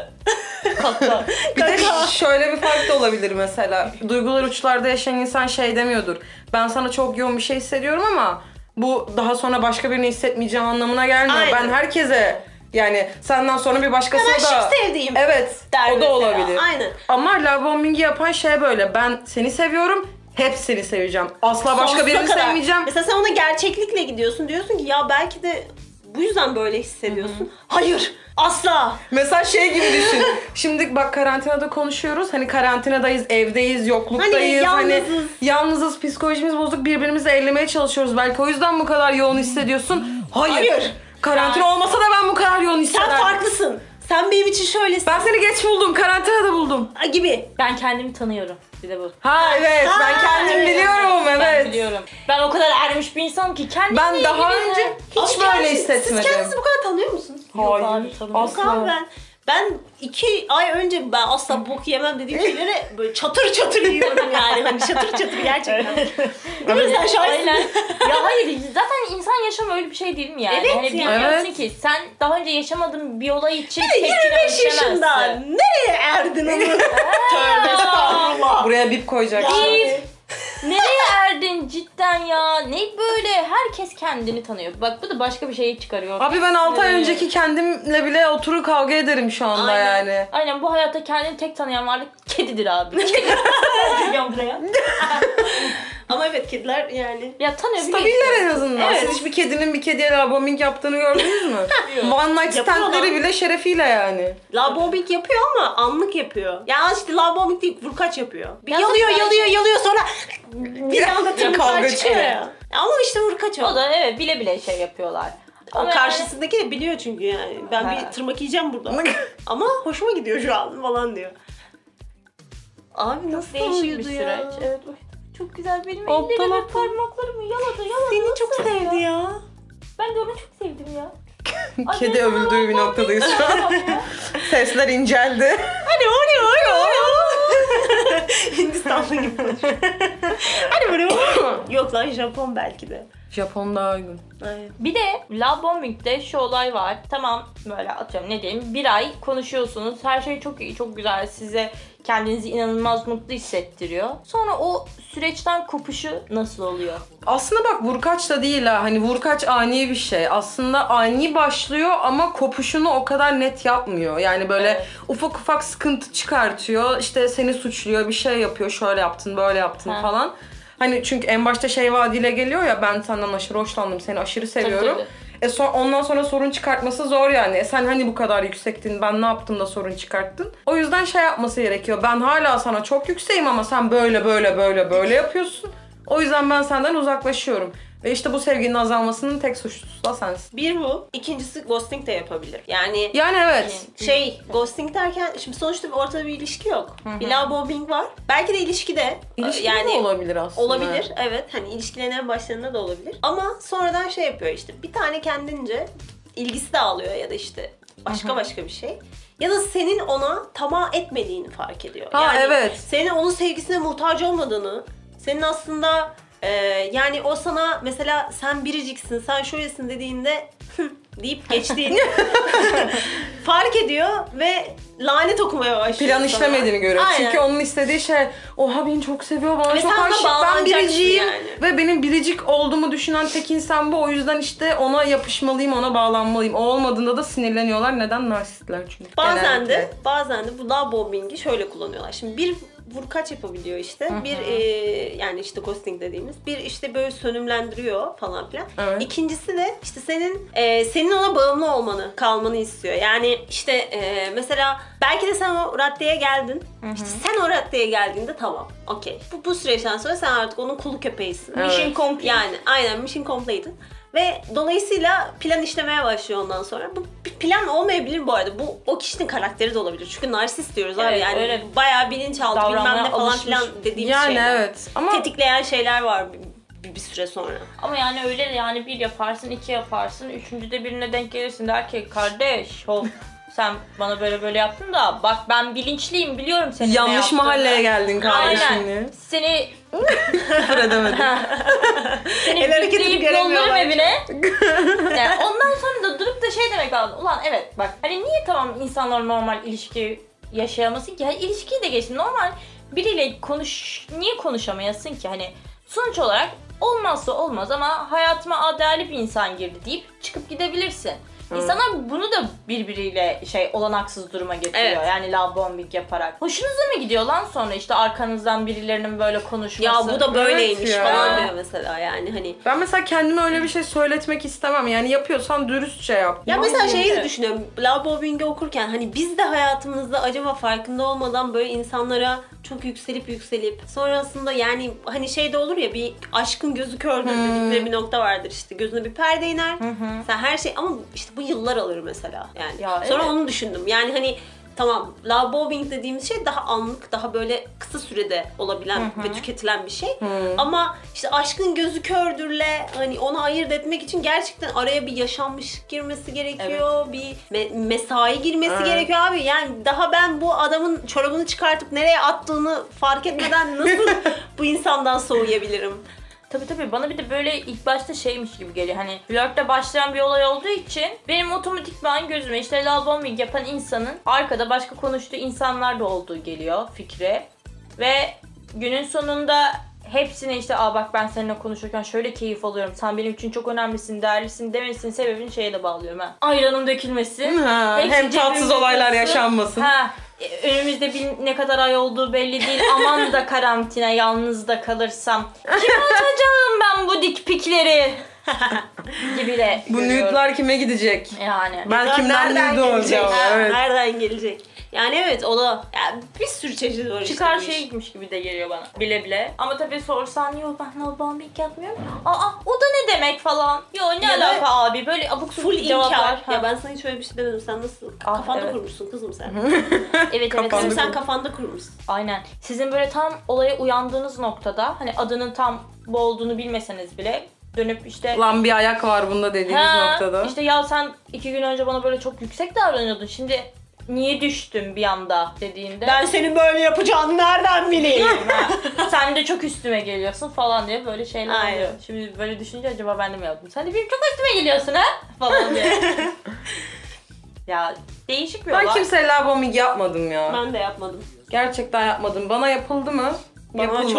S3: Kaka.
S1: Bir de şöyle bir fark da olabilir mesela. Duygular uçlarda yaşayan insan şey demiyordur. Ben sana çok yoğun bir şey hissediyorum ama bu daha sonra başka birini hissetmeyeceğim anlamına gelmiyor.
S3: Aynen.
S1: Ben herkese yani senden sonra bir başkası
S3: Ben
S1: da...
S3: şimdi sevdiğim
S1: Evet
S3: der
S1: o da
S3: mesela.
S1: olabilir.
S3: Aynen.
S1: Ama love bombing'i yapan şey böyle. Ben seni seviyorum, hepsini seveceğim. Asla başka
S3: Sonsuza
S1: birini
S3: kadar.
S1: sevmeyeceğim.
S3: Mesela sen ona gerçeklikle gidiyorsun. Diyorsun ki ya belki de bu yüzden böyle hissediyorsun. Hayır. Asla.
S1: Mesela şey gibi düşün. Şimdi bak karantinada konuşuyoruz. Hani karantinadayız, evdeyiz, yokluktayız.
S3: Hani yalnızız.
S1: yalnızız, psikolojimiz bozuk. Birbirimizi ellemeye çalışıyoruz. Belki o yüzden bu kadar yoğun hissediyorsun. Hayır.
S3: Hmm. Hayır.
S1: Karantina olmasa da ben bu kadar yoğun
S3: Sen
S1: hissederdim.
S3: farklısın. Sen benim için şöylesin
S1: Ben seni geç buldum. Karantinada buldum.
S3: gibi.
S2: Ben kendimi tanıyorum. Bir de bu.
S1: Ha evet. ben
S3: Ha,
S1: kendim
S3: evet,
S1: biliyorum. Evet.
S2: Ben biliyorum. Ben o kadar ermiş bir insanım ki kendimle
S3: Hani
S1: Ben daha
S2: ilgili de-
S1: önce hiç böyle
S3: Ama kendisi-
S1: hissetmedim.
S3: Siz kendinizi bu kadar tanıyor musunuz?
S1: Hayır.
S2: abi, tanımıyorum.
S3: Yok abi
S1: asla.
S3: ben ben iki ay önce ben asla bok yemem dediğim şeylere böyle çatır çatır yiyorum yani. Hani çatır çatır gerçekten. Değil mi? Sen şahitsin.
S2: Aynen. ya hayır zaten insan yaşamı öyle bir şey değil mi yani?
S3: Evet
S2: hani
S3: ya.
S2: biliyorsun
S1: Evet.
S2: ki sen daha önce yaşamadığın bir olay için tepkini
S3: 25
S2: ölçemezsin.
S3: yaşında nereye
S1: <laughs>
S3: erdin onu? Tövbe estağfurullah.
S1: Buraya bip koyacaksın.
S2: Bip. Nereye erdin cidden ya? Ne böyle herkes kendini tanıyor. Bak bu da başka bir şeye çıkarıyor.
S1: Abi ben 6 ay
S2: Sinirimi.
S1: önceki kendimle bile oturur kavga ederim şu anda
S3: Aynen.
S1: yani.
S2: Aynen bu hayatta kendini tek tanıyan varlık kedidir abi. Kedi. Geliyorum buraya.
S3: Ama evet kediler yani
S2: Ya tanıyor biliyor
S1: Stabiller
S2: işte.
S1: en azından.
S2: Evet.
S1: Siz hiçbir kedinin bir kediye laboming yaptığını gördünüz
S2: <laughs>
S1: mü? One night standları
S3: Yapıyorlar.
S1: bile şerefiyle yani.
S3: Love bombing yapıyor ama anlık yapıyor. Yani işte love bombing değil, vurkaç yapıyor. Bir
S2: Ya
S3: yalıyor,
S2: zaten-
S3: yalıyor, yalıyor sonra bir anda
S1: Kavga
S3: tırmıklar çıkıyor
S1: çıkıyor.
S3: ya. Ama işte vurkaç o.
S2: O da evet bile bile şey yapıyorlar.
S3: O
S2: Ama
S3: karşısındaki de biliyor çünkü yani. Ben
S2: Ha.
S3: bir tırmak
S1: <laughs>
S3: yiyeceğim burada. ama hoşuma gidiyor şu an falan diyor. Abi nasıl
S2: Değişik bir
S3: uyudu ya?
S2: süreç. Evet uyudu. Çok güzel benim
S1: Aptal
S2: ellerimi
S1: aptal.
S2: parmaklarımı yaladı yaladı.
S3: Seni çok sevdi ya.
S2: Ben de onu çok sevdim ya. Ay,
S1: Kedi
S2: ben sana
S1: övüldüğü bir
S2: love
S1: noktadayız şu an. <laughs> Sesler inceldi.
S3: Hani o ne o ne o <laughs> ne o? Hindistanlı gibi konuşuyor. Hani böyle <laughs> o- Yok lan Japon belki de.
S1: Japon daha uygun.
S3: Ay.
S2: <laughs> Bir de Love Bombing'de şu olay var. Tamam böyle atıyorum ne diyeyim bir ay konuşuyorsunuz. Her şey çok iyi çok güzel. Size kendinizi inanılmaz mutlu hissettiriyor. Sonra o süreçten kopuşu nasıl oluyor?
S1: Aslında bak vurkaç da değil ha. Hani vurkaç ani bir şey. Aslında ani başlıyor ama kopuşunu o kadar net yapmıyor. Yani böyle
S2: Evet.
S1: ufak ufak sıkıntı çıkartıyor. İşte seni suçluyor, bir şey yapıyor. Şöyle yaptın, böyle yaptın
S2: Ha.
S1: falan. Hani çünkü en başta şey vaadiyle geliyor ya ben senden aşırı hoşlandım, seni aşırı seviyorum.
S2: tabii.
S1: E son, ondan sonra sorun çıkartması zor yani. E sen hani bu kadar yüksektin ben ne yaptım da sorun çıkarttın. O yüzden şey yapması gerekiyor. Ben hala sana çok yükseğim ama sen böyle böyle böyle böyle yapıyorsun. O yüzden ben senden uzaklaşıyorum. Ve işte bu sevginin azalmasının tek suçlusu da sensin.
S3: Bir bu. İkincisi ghosting de yapabilir. Yani
S1: Yani evet.
S3: şey ghosting derken şimdi sonuçta bir ortada bir ilişki yok. Bir love bombing var. Belki de ilişkide.
S1: İlişki
S3: yani
S1: de olabilir aslında.
S3: Olabilir evet. Hani ilişkilerin en başlarında da olabilir. Ama sonradan şey yapıyor işte bir tane kendince ilgisi dağılıyor ya da işte başka başka bir şey. Ya da senin ona tamah etmediğini fark ediyor.
S1: Ha, evet.
S3: Senin onun sevgisine muhtaç olmadığını, senin aslında e, yani o sana mesela sen biriciksin, sen şöylesin dediğinde "Hı," deyip
S1: <laughs>
S3: geçtiğini <laughs> fark ediyor ve lanet okumaya başlıyor.
S1: Plan
S3: sana.
S1: işlemediğini görüyor.
S3: Aynen.
S1: Çünkü onun istediği şey oha beni çok seviyor bana
S3: Ve
S1: çok
S3: sen de
S1: aşık ben
S3: bağlanacaksın
S1: biriciyim
S3: yani.
S1: ve benim biricik olduğumu düşünen tek insan bu o yüzden işte ona yapışmalıyım ona bağlanmalıyım. O olmadığında da sinirleniyorlar neden narsistler çünkü.
S3: Bazen
S1: genellikle.
S3: de bazen de bu love bombingi şöyle kullanıyorlar. Şimdi bir vurkaç yapabiliyor işte. Bir e, yani işte ghosting dediğimiz. Bir işte böyle sönümlendiriyor falan filan.
S1: Evet.
S3: İkincisi de işte senin e, senin ona bağımlı olmanı, kalmanı istiyor. Yani işte e, mesela belki de sen o raddeye geldin. İşte sen o raddeye geldiğinde tamam. Okey. Bu, bu süreçten sonra sen artık onun kulu köpeğisin.
S1: Evet.
S2: Mission complete.
S3: Yani aynen mission completed. Ve dolayısıyla plan işlemeye başlıyor ondan sonra. Bu bir plan olmayabilir bu arada. Bu o kişinin karakteri de olabilir. Çünkü narsist diyoruz abi
S2: Evet,
S3: yani.
S2: öyle.
S3: Bayağı bilinçaltı bilmem
S2: Davranmaya
S3: ne falan
S2: alışmış.
S3: filan dediğimiz
S1: yani
S3: şeyler.
S1: evet ama
S3: Tetikleyen şeyler var bir, bir- bir süre sonra.
S2: Ama yani öyle yani bir yaparsın, iki yaparsın, üçüncüde birine denk gelirsin der ki kardeş hop <laughs> sen bana böyle böyle yaptın da bak ben bilinçliyim biliyorum seni ne
S1: yanlış
S2: yaptığını."
S1: mahalleye geldin kardeşim
S2: Aynen.
S1: diye.
S2: Seni
S1: Küfür
S3: <laughs>
S1: edemedim.
S2: seni
S3: El hareketini
S2: yükleyip
S3: göremiyorlar
S2: yollarım
S3: çok. <laughs>
S2: evine. yani ondan sonra da durup da şey demek lazım. Ulan evet bak hani niye tamam insanlar normal ilişki yaşayamasın ki? Hani ilişkiyi de geçtim. Normal biriyle konuş niye konuşamayasın ki? Hani sonuç olarak olmazsa olmaz ama hayatıma "Aa, değerli bir insan girdi deyip çıkıp gidebilirsin. İnsanlar bunu da birbiriyle şey olanaksız duruma getiriyor.
S3: Evet.
S2: Yani love bombing yaparak. Hoşunuza mı gidiyor lan sonra işte arkanızdan birilerinin böyle konuşması?
S3: Ya bu da böyleymiş
S1: ya.
S3: falan diyor mesela yani hani.
S1: Ben mesela kendime öyle bir şey söyletmek istemem. Yani yapıyorsan dürüstçe yap.
S3: Ya mesela şey- şeyi de
S2: Evet.
S3: düşünüyorum. Labo Bing'i okurken hani biz de hayatımızda acaba farkında olmadan böyle insanlara çok yükselip yükselip sonrasında yani hani şey de olur ya bir aşkın gözü kördür
S2: Hmm.
S3: dedikleri bir nokta vardır işte gözüne bir perde iner. Sen her şey ama işte bu yıllar alır mesela yani.
S2: Ya
S3: Sonra
S2: evet.
S3: onu düşündüm. Yani hani Tamam, love bombing dediğimiz şey daha anlık, daha böyle kısa sürede olabilen ve tüketilen bir şey. Ama işte aşkın gözü kördürle hani onu ayırt etmek için gerçekten araya bir yaşanmışlık girmesi gerekiyor. Bir me- mesai girmesi
S1: Evet.
S3: gerekiyor abi. Yani daha ben bu adamın çorabını çıkartıp nereye attığını fark
S1: <laughs>
S3: etmeden nasıl bu insandan soğuyabilirim?
S2: Tabii tabii bana bir de böyle ilk başta şeymiş gibi geliyor. Hani flörtle başlayan bir olay olduğu için benim otomatikman gözüme işte love bombing yapan insanın arkada başka konuştuğu insanlar da olduğu geliyor fikre. Ve günün sonunda hepsine işte aa bak ben seninle konuşurken şöyle keyif alıyorum. Sen benim için çok önemlisin, değerlisin demesinin sebebini şeye de bağlıyorum ben. Ayranım dökülmesin.
S1: Ha,
S2: Hepsi
S1: hem tatsız
S2: cebimde
S1: olaylar
S2: kalsın.
S1: yaşanmasın.
S2: Ha, e, önümüzde bir, ne kadar ay olduğu
S3: <laughs>
S2: belli değil. Aman da karantina yalnız da kalırsam. Kim atacağım ben bu
S3: <laughs>
S2: dik pikleri? gibi de
S1: Bu
S2: görüyorum.
S1: nude'lar kime gidecek?
S2: Yani.
S1: Ben kimden nude
S3: gelecek?
S1: olacağım?
S3: Ha,
S1: Evet.
S3: Nereden gelecek? Yani evet o da yani bir sürü çeşit var işte
S2: Çıkar
S3: bu
S2: şey
S3: işin.
S2: gitmiş gibi de geliyor bana. Bile bile. Ama tabii sorsan yok ben love bombing yapmıyorum. Aa o da ne demek falan. Yo ne
S3: Ya da
S2: alaka abi böyle abuk
S3: Full
S2: subuk cevaplar.
S3: inkar.
S2: Ha.
S3: Ya ben sana hiç öyle bir şey demedim. Sen nasıl?
S2: Ah,
S3: kafanda
S2: evet.
S3: kurmuşsun kızım sen.
S2: evet evet.
S1: Kapandı.
S3: Kızım sen kafanda kurmuşsun.
S2: Aynen. Sizin böyle tam olaya uyandığınız noktada hani adının tam bu olduğunu bilmeseniz bile dönüp işte
S1: Lan bir ayak var bunda dediğimiz
S2: Ha,
S1: noktada.
S2: İşte ya sen iki gün önce bana böyle çok yüksek davranıyordun. Şimdi niye düştün bir anda dediğinde.
S3: Ben senin böyle yapacağını nereden bileyim?
S2: sen de çok üstüme geliyorsun falan diye böyle şeyler
S3: Aynen.
S2: oluyor. Şimdi böyle düşünce acaba ben de mi yaptım? Sen de benim çok üstüme geliyorsun ha falan diye. ya değişik bir
S1: ben
S2: olay.
S1: kimseye labomik yapmadım ya.
S3: ben de yapmadım.
S1: Gerçekten yapmadım. Bana yapıldı mı?
S3: Bana
S1: Yapılmadı.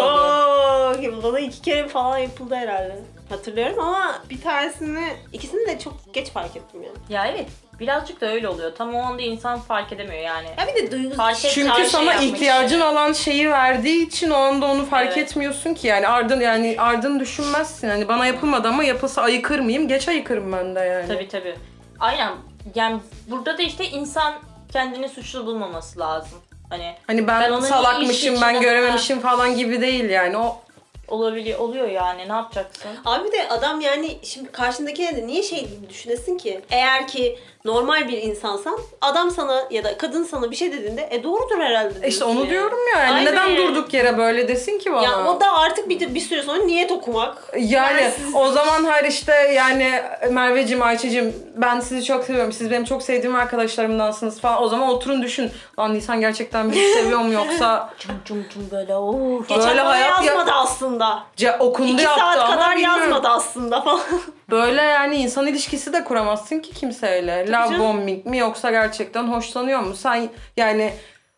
S3: çok yapıldı. Bana iki kere falan yapıldı herhalde. Hatırlıyorum ama bir tanesini, ikisini de çok geç fark ettim ya.
S2: Ya evet birazcık da öyle oluyor. Tam o anda insan fark edemiyor yani.
S3: Ya bir de duygusal
S2: Fark et-
S1: Çünkü
S2: Her şey
S1: sana
S2: yapmış.
S1: ihtiyacın olan şeyi verdiği için o anda onu fark
S2: Evet.
S1: etmiyorsun ki yani ardın yani ardın düşünmezsin. Hani bana yapılmadı ama yapılsa ayıkır mıyım? Geç ayıkırım ben de yani.
S2: Tabii tabii. Aynen. Yani burada da işte insan kendini suçlu bulmaması lazım. Hani
S1: Hani ben,
S2: Ben onun
S1: salakmışım,
S2: iş
S1: ben
S2: içine-
S1: görememişim falan gibi değil yani. O
S2: olabiliyor oluyor yani ne yapacaksın?
S3: Abi de adam yani şimdi karşındakine de niye şey gibi düşünesin ki? Eğer ki normal bir insansan adam sana ya da kadın sana bir şey dediğinde e doğrudur herhalde.
S1: E
S3: diyorsun
S1: İşte onu
S3: yani.
S1: diyorum ya. Yani
S3: Aynen.
S1: neden durduk yere böyle desin ki bana?
S3: Ya o da artık bir, bir süre sonra niyet okumak.
S1: Yani
S3: Ben siz-
S1: o zaman her işte yani Merveciğim, Ayça'cığım ben sizi çok seviyorum. Siz benim çok sevdiğim arkadaşlarımdansınız falan. O zaman oturun düşün. Lan Nisan gerçekten
S3: <laughs>
S1: beni seviyor mu yoksa
S2: Cum cum cum böyle of.
S1: Böyle
S3: Geçen bana
S1: hayat ya-
S3: yazmadı aslında.
S1: ce- okundu
S3: İki
S1: yaptı
S3: saat
S1: ama
S3: kadar
S1: bilmiyorum.
S3: yazmadı aslında falan. <laughs>
S1: Böyle yani insan ilişkisi de kuramazsın ki kimseyle. Love
S3: canım.
S1: bombing mi yoksa gerçekten hoşlanıyor mu? Sen yani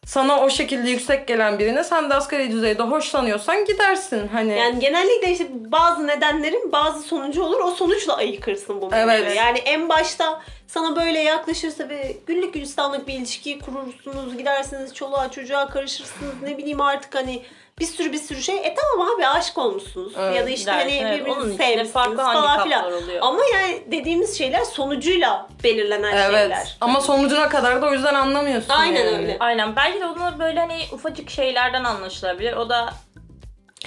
S1: sana o şekilde yüksek gelen birine sen de asgari düzeyde hoşlanıyorsan gidersin. Hani
S3: Yani genellikle işte bazı nedenlerin bazı sonucu olur. O sonuçla ayıkırsın bunu.
S1: Evet.
S3: Yani en başta sana böyle yaklaşırsa ve güllük gülistanlık bir ilişki kurursunuz. Gidersiniz çoluğa çocuğa karışırsınız. Ne bileyim artık hani bir sürü bir sürü şey. E tamam abi aşık olmuşsunuz.
S1: Evet,
S3: ya da işte
S2: dersin,
S3: hani
S2: evet. Onun
S3: birbirini
S2: içinde
S3: sevmişsiniz
S2: farklı
S3: falan filan.
S2: handikaplar oluyor.
S3: Ama yani dediğimiz şeyler sonucuyla belirlenen
S1: evet.
S3: şeyler.
S1: Ama sonucuna kadar da o yüzden anlamıyorsun.
S3: Aynen
S1: yani.
S3: öyle.
S2: Aynen belki de onu böyle hani ufacık şeylerden anlaşılabilir. O da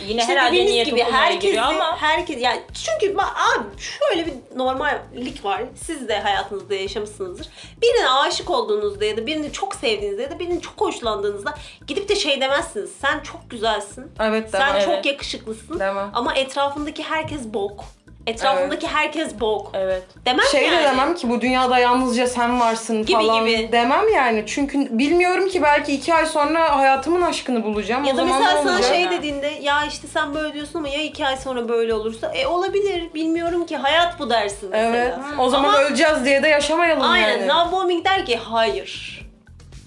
S2: yine
S3: İşte
S2: herhalde
S3: dediğiniz
S2: niyet
S3: gibi
S2: okumaya
S3: herkesi,
S2: giriyor ama
S3: herkes yani çünkü ba- abi şöyle bir normallik var. Siz de hayatınızda yaşamışsınızdır. Birine aşık olduğunuzda ya da birini çok sevdiğinizde ya da birini çok hoşlandığınızda gidip de şey demezsiniz. Sen çok güzelsin.
S1: Evet
S3: Sen
S1: demem.
S2: Evet.
S3: çok yakışıklısın.
S1: Demem.
S3: Ama etrafındaki herkes bok. Etrafındaki herkes bok.
S2: evet.
S3: Demem
S1: Şey
S3: yani.
S1: de demem ki bu dünyada yalnızca sen varsın
S3: Gibi
S1: falan
S3: gibi.
S1: demem yani. Çünkü bilmiyorum ki belki iki ay sonra hayatımın aşkını bulacağım. o
S3: Ya da
S1: zaman
S3: mesela
S1: ne
S3: sana
S1: olacak?
S3: şey dediğinde ya işte sen böyle diyorsun ama ya iki ay sonra böyle olursa e olabilir bilmiyorum ki hayat bu dersin mesela.
S1: Evet. O zaman
S3: Ama-
S1: öleceğiz diye de yaşamayalım
S3: Aynen.
S1: yani.
S3: Love bombing der ki hayır.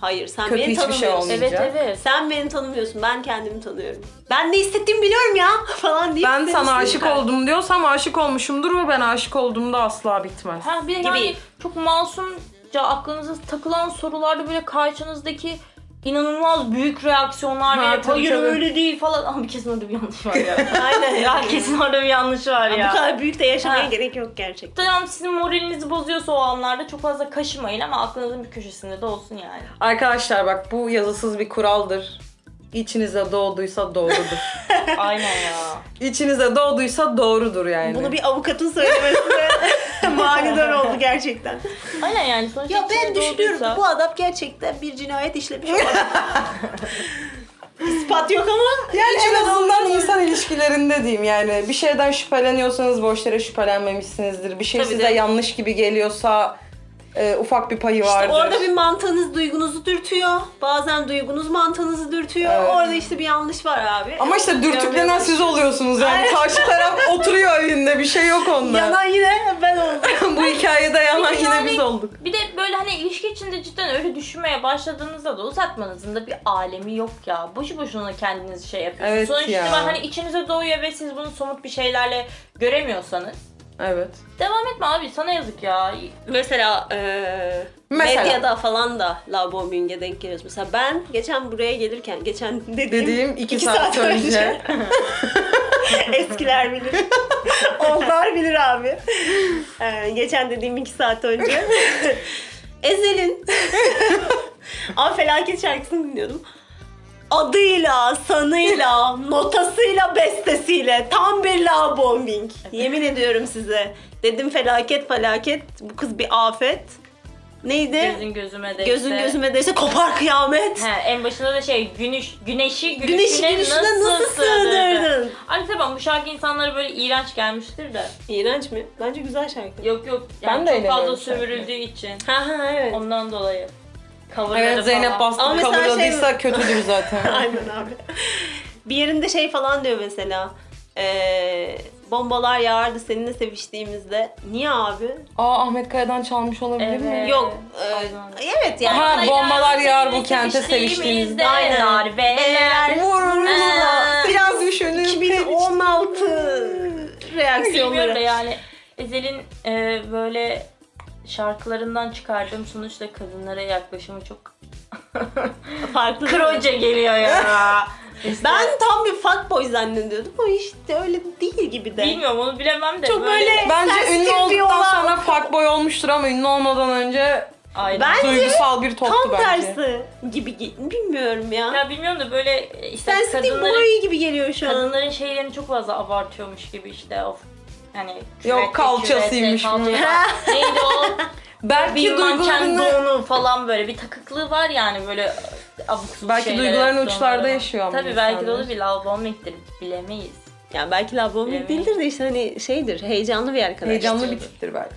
S3: Hayır sen
S1: Kötü
S3: beni
S1: hiçbir şey
S3: tanımıyorsun.
S1: olmayacak.
S2: Evet evet.
S3: Sen beni tanımıyorsun. Ben kendimi tanıyorum. Ben ne hissettiğimi biliyorum ya <laughs> falan deyip
S1: Ben
S3: seni
S1: sana aşık
S3: sinirler.
S1: oldum diyorsam aşık olmuşumdur ve ben aşık olduğumda asla bitmez.
S2: Ha bir de
S3: Gibi.
S2: yani çok masumca aklınıza takılan sorularda böyle karşınızdaki inanılmaz büyük reaksiyonlar
S1: Ha,
S2: verip
S1: tabii,
S2: hayır
S1: tabii.
S2: öyle değil falan. Ama kesin orada bir yanlış
S3: <laughs>
S2: var ya.
S3: Aynen ya.
S2: ya kesin orada bir yanlış var
S3: Bu
S2: ya.
S3: kadar büyük de yaşamaya
S2: Ha.
S3: gerek yok gerçekten.
S2: Tamam sizin moralinizi bozuyorsa o anlarda çok fazla kaşımayın ama aklınızın bir köşesinde de
S3: <laughs>
S2: olsun yani.
S1: Arkadaşlar bak bu yazısız bir kuraldır. İçinize doğduysa doğrudur.
S3: <laughs>
S2: Aynen ya.
S1: İçinize doğduysa doğrudur yani.
S3: Bunu bir avukatın söylemesi <laughs> manidar oldu gerçekten.
S2: Aynen yani sonuçta şey
S3: Ya ben
S2: içinde
S3: düşünüyorum
S2: doğduysa-
S3: bu adam gerçekten bir cinayet <laughs> işlemiş olabilir. İspat yok ama
S1: Yani en
S3: içine
S1: azından
S3: doğduysa-
S1: insan ilişkilerinde diyeyim yani bir şeyden şüpheleniyorsanız boş yere şüphelenmemişsinizdir. Bir şey
S3: Tabii
S1: size
S3: de.
S1: yanlış gibi geliyorsa e, ufak bir payı vardır.
S3: Orada bir mantığınız duygunuzu dürtüyor. Bazen duygunuz mantığınızı dürtüyor.
S1: Evet.
S3: Orada işte bir yanlış var abi.
S1: Ama işte dürtüklenen
S3: Görmüyorsun.
S1: siz oluyorsunuz yani karşı taraf oturuyor evinde bir şey yok onda.
S3: <laughs> Yanan yine ben
S1: <laughs>
S3: oldum.
S1: Bu hikayede yanan
S2: Peki
S1: yine
S2: yani-
S1: biz olduk.
S2: Bir de böyle hani ilişki içinde cidden öyle düşünmeye başladığınızda da uzatmanızın da bir alemi yok ya. Boşu boşuna kendinizi şey yapıyorsunuz.
S1: Evet
S2: Sonuç
S1: ya.
S2: itibariyle hani içinize doğuyor ve siz bunu somut bir şeylerle göremiyorsanız.
S1: Evet.
S2: Devam etme abi sana yazık ya.
S3: <laughs> Mesela, eee,
S1: Mesela.
S3: medyada falan da La Bombing'e denk geliyoruz. Mesela ben geçen buraya gelirken, geçen dediğim,
S1: Dediğim iki, saat, önce.
S3: Eskiler
S2: <laughs>
S3: bilir. Onlar bilir abi. Ee, geçen dediğim iki saat
S2: <laughs>
S3: önce. Ezel'in Ama felaket şarkısını dinliyordum. Adıyla, sanıyla, notasıyla, bestesiyle tam bir la bombing. Yemin ediyorum size. Dedim felaket felaket. Bu kız bir afet. Neydi?
S2: Gözün gözüme de
S3: Gözün
S2: işte.
S3: gözüme değse kopar kıyamet.
S2: He, en başında da şey güneş, güneşi güneşine,
S3: Güneşi güneşine
S2: nasıl,
S3: nasıl
S2: sığdırdın?
S3: sığdırdın?
S2: Ay tamam bu şarkı insanlara böyle iğrenç gelmiştir de.
S3: İğrenç mi? Bence güzel şarkı.
S2: Yok yok
S1: Ben
S2: yani
S1: de
S2: çok fazla
S1: eğleniyorum şarkıyı.
S2: sövürüldüğü için.
S3: Ha ha evet.
S2: Ondan dolayı. Coverları
S1: Evet Zeynep
S2: falan.
S1: bastı
S3: Ama mesela şey-
S1: kavuradıysa kötüdür zaten.
S3: <laughs> Aynen abi. Bir yerinde şey falan diyor mesela. Ee, bombalar yağardı seninle seviştiğimizde. Niye abi?
S1: Aa Ahmet Kaya'dan çalmış olabilir mi?
S2: Evet.
S3: Yok. ee,
S2: Aynen.
S3: evet yani.
S1: Ha,
S2: Ay,
S1: bombalar
S2: yani
S1: yağar bu
S2: seviştiğimiz
S1: kente
S2: seviştiğimizde
S3: Aynen. <laughs>
S2: Darbeler.
S1: Vururlar.
S2: Ee,
S1: Biraz düşünün.
S3: 2016
S2: <laughs> Bilmiyorum da
S3: reaksiyonları.
S2: yani Ezel'in e, böyle şarkılarından çıkardığım sonuçla kadınlara yaklaşımı çok <laughs>
S3: Farklı.
S2: kroca
S1: <laughs>
S2: geliyor ya. İşte
S3: Ben tam bir fuckboy zannediyordum ama işte öyle değil gibi de.
S2: bilmiyorum onu bilemem de
S3: Çok böyle-
S1: Bence
S3: Sen
S1: ünlü
S3: stil bir
S1: olduktan sonra
S3: olan-
S1: fuckboy olmuştur ama ünlü olmadan önce
S2: Aynen.
S3: Ben
S1: Duygusal bir toptu
S3: tam
S1: bence.
S3: tersi gibi gi- bilmiyorum ya.
S2: Ya bilmiyorum da böyle e, işte
S3: Sensitive
S2: kadınların,
S3: boy gibi geliyor şu an.
S2: kadınların şeylerini çok fazla abartıyormuş gibi işte of. Hani Yani
S1: Yok, kalçasıymış
S2: kürete,
S1: bunun. <laughs>
S2: kalçaya- Neydi o?
S1: Belki
S2: Bir manken
S1: duygularını
S2: doğunu falan böyle bir takıklığı var yani böyle ıı, abuk subuk
S1: Belki
S2: şeyler
S1: duygularını
S2: yaptı
S1: uçlarda
S2: onlara.
S1: yaşıyor ama
S2: Tabii belki de
S1: insanlar.
S2: olabilir. Love bombing'dir. Bilemeyiz.
S3: Ya belki lababım
S2: Evet.
S3: değildir de işte hani şeydir, heyecanlı bir arkadaş.
S1: heyecanlı bir tiptir belki.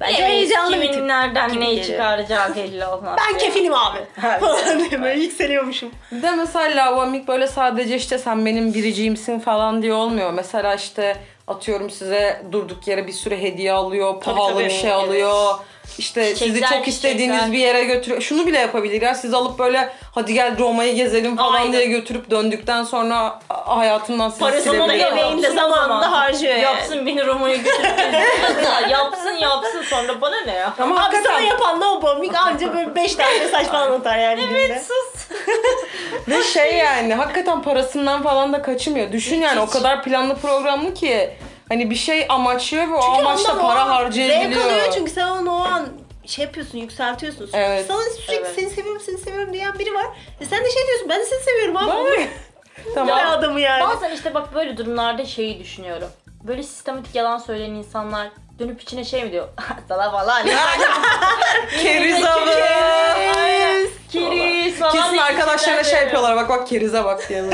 S3: Bence
S2: Bilemeyiz.
S3: heyecanlı
S2: Kimin
S3: bir tip.
S2: nereden
S3: gibi
S2: neyi
S3: geliyor.
S2: çıkaracağı belli olmaz.
S3: Ben
S2: ya.
S1: <laughs>
S3: kefilim abi. Falan diye böyle yükseliyormuşum.
S1: Bir de mesela lavamik böyle sadece işte sen benim biriciğimsin falan diye olmuyor. Mesela işte atıyorum size durduk yere bir sürü hediye alıyor, pahalı
S3: tabii,
S1: bir şey
S2: evet.
S1: alıyor. İşte
S2: Çiçekler,
S1: sizi çok istediğiniz
S2: çiçekler.
S1: bir yere götürüyor. Şunu bile yapabilirler. Sizi alıp böyle hadi gel Roma'yı gezelim falan
S2: Aynen.
S1: diye götürüp döndükten sonra a- hayatından sizi
S3: Parasını da
S1: silebilirler.
S2: yemeği-
S3: yemeğini de
S2: Yapsın
S3: zamanında
S2: zaman.
S3: harcıyor. yani.
S2: Yapsın beni Roma'ya
S1: <laughs>
S2: götürüp gezdirsin. yapsın yapsın sonra bana ne ya?
S1: Ama
S3: Abi sana
S1: hakikaten
S3: yapan lababım anca böyle 5 tane saç falan atar yani günde.
S2: Sus.
S1: Ve şey yani hakikaten parasından falan da kaçınmıyor. Düşün yani o kadar planlı programlı ki hani bir şey amaçlıyor ve o
S3: Çünkü
S1: amaçla
S3: ondan o an
S1: para harcayabiliyor.
S3: Zevk alıyor çünkü sen onu o an şey yapıyorsun, yükseltiyorsun.
S1: Evet.
S3: Sana sürekli
S2: Evet.
S3: seni seviyorum, seni seviyorum diyen biri var. E sen de şey diyorsun, ben de seni seviyorum abi.
S1: Bana ne?
S3: Ne
S1: tamam.
S3: adamı yani.
S2: Bazen işte bak böyle durumlarda şeyi düşünüyorum. Böyle sistematik yalan söyleyen insanlar dönüp içine şey mi diyor? <laughs> Sala falan.
S1: <laughs>
S3: <laughs>
S1: Keriz abi.
S2: Aynen. Kiriz falan.
S1: Kesin
S2: diye
S1: arkadaşlarına
S2: içinden
S1: şey
S2: dönüyor.
S1: yapıyorlar bak bak kerize bak
S3: <laughs>
S1: diye.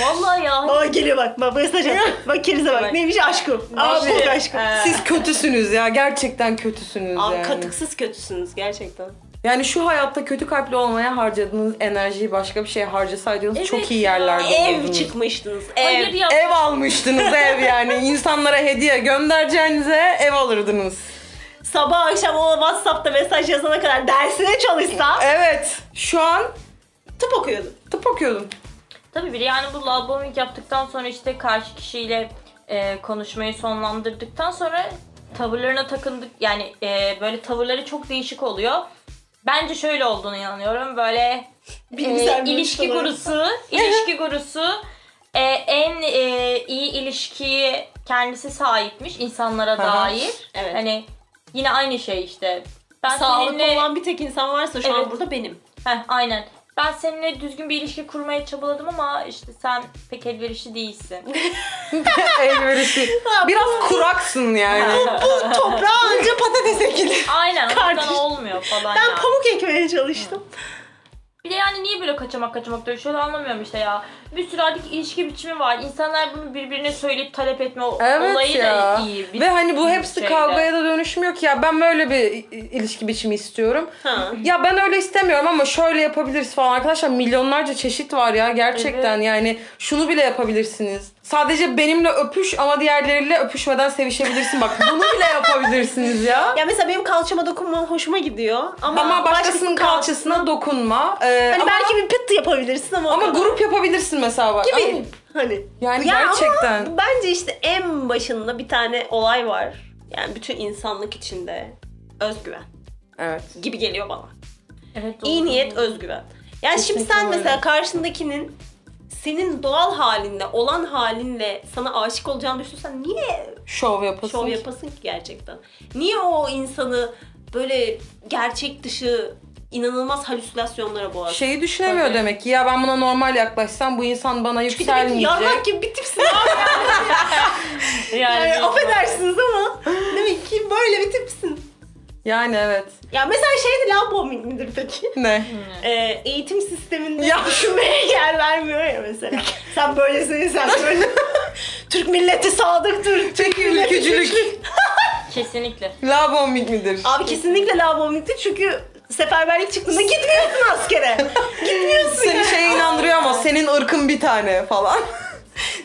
S2: Vallahi ya.
S3: Aa geliyor bak, bak mesaj at.
S1: <laughs>
S3: Bak kerize bak,
S2: Bak.
S3: neymiş aşkım. Aa
S2: Neymiş?
S3: bu aşkım.
S2: Ee,
S1: Siz kötüsünüz ya gerçekten kötüsünüz
S3: Abi
S1: yani.
S3: katıksız kötüsünüz gerçekten.
S1: Yani şu hayatta kötü kalpli olmaya harcadığınız enerjiyi başka bir şeye harcasaydınız
S2: Evet
S1: çok iyi
S2: ya.
S1: yerlerde
S3: Ev
S1: olurdunuz.
S3: çıkmıştınız,
S2: Hayır
S3: ev.
S2: ya.
S1: Ev almıştınız ev yani. İnsanlara hediye göndereceğinize ev alırdınız.
S3: Sabah akşam o WhatsApp'ta mesaj yazana kadar dersine çalışsan
S1: Evet. Şu an
S3: tıp okuyordun.
S1: tıp okuyordum. <laughs>
S2: Tabii bir yani bu labomik yaptıktan sonra işte karşı kişiyle e, konuşmayı sonlandırdıktan sonra tavırlarına takındık yani e, böyle tavırları çok değişik oluyor. Bence şöyle olduğunu inanıyorum. Böyle
S3: Bilimsel
S2: e,
S3: bir
S2: ilişki
S3: uygulama. <laughs>
S2: gurusu, ilişki gurusu e, en e, iyi ilişkiyi kendisi sahipmiş insanlara
S1: Aha.
S2: dair.
S3: Evet.
S2: Hani yine aynı şey işte. Ben
S3: Sağlıklı
S2: seninle
S3: olan bir tek insan varsa şu an
S2: Evet.
S3: burada benim.
S2: Heh, aynen. Ben seninle düzgün bir ilişki kurmaya çabaladım ama işte sen pek elverişli değilsin.
S1: Elverişi. Biraz kuraksın yani.
S3: Bu toprağa önce patates ekilir.
S2: <laughs> Aynen ondan
S3: Kardeş.
S2: olmuyor
S3: <laughs>
S2: falan
S3: Ben
S2: ya.
S3: pamuk ekmeye çalıştım.
S2: Bir de yani niye böyle kaçamak kaçamak dövüşüyor anlamıyorum işte ya. Bir sürü artık ilişki biçimi var. İnsanlar bunu birbirine söyleyip talep etme o-
S1: Evet
S2: olayı
S1: ya.
S2: da iyi. Bir- şey
S1: Ve hani bu hepsi
S2: şeyde.
S1: kavgaya da dönüşmüyor ki ya ben böyle bir i- ilişki biçimi istiyorum.
S3: Ha.
S1: Ya ben öyle istemiyorum ama şöyle yapabiliriz falan arkadaşlar milyonlarca çeşit var ya gerçekten yani şunu bile yapabilirsiniz. Sadece benimle öpüş ama diğerleriyle öpüşmeden sevişebilirsin bak bunu bile yapabilirsiniz ya.
S3: Ya mesela benim kalçama dokunman hoşuma gidiyor ama,
S1: Ama başkasının kalçasına dokunma. Ee,
S3: Hani
S1: ama,
S3: belki bir pıt yapabilirsin ama
S1: ama grup yapabilirsin mesela bak.
S3: gibi. Hani.
S1: Yani
S3: Ya ama
S1: gerçekten.
S3: Bence işte en başında bir tane olay var. Yani bütün insanlık içinde özgüven
S1: Evet.
S3: gibi geliyor bana.
S2: Evet,
S3: İyi
S2: doğru.
S3: niyet, özgüven. Yani şimdi
S1: Kesinlikle
S3: sen
S1: öyle.
S3: mesela karşındakinin senin doğal halinle, olan halinle sana aşık olacağını düşünsen niye
S1: Şov yapasın.
S3: şov yapasın ki gerçekten? Niye o insanı böyle gerçek dışı inanılmaz halüsinasyonlara boğazsın?
S1: Şeyi düşünemiyor
S2: Tabii.
S1: demek ki ya ben buna normal yaklaşsam bu insan bana
S3: Çünkü demek ki yarmak
S1: yükselmeyecek.
S3: gibi bir tipsin abi.
S2: Yani,
S3: Yani affedersiniz ama demek ki böyle bir tipsin.
S1: Yani evet.
S3: Ya mesela şeydi lan bombing midir peki?
S1: Ne?
S3: Ee, eğitim sisteminde
S1: Ya.
S3: düşünmeye yer vermiyor ya mesela. sen böylesin, sen böyle. Türk milleti sadıktır. Türk milleti
S1: Ülkücülük.
S2: kesinlikle.
S1: Labomik midir?
S3: Abi kesinlikle la bombingdi çünkü seferberlik çıktığında gitmiyorsun askere. gitmiyorsun
S1: Seni
S3: ya.
S1: şeye inandırıyor ama senin ırkın bir tane falan.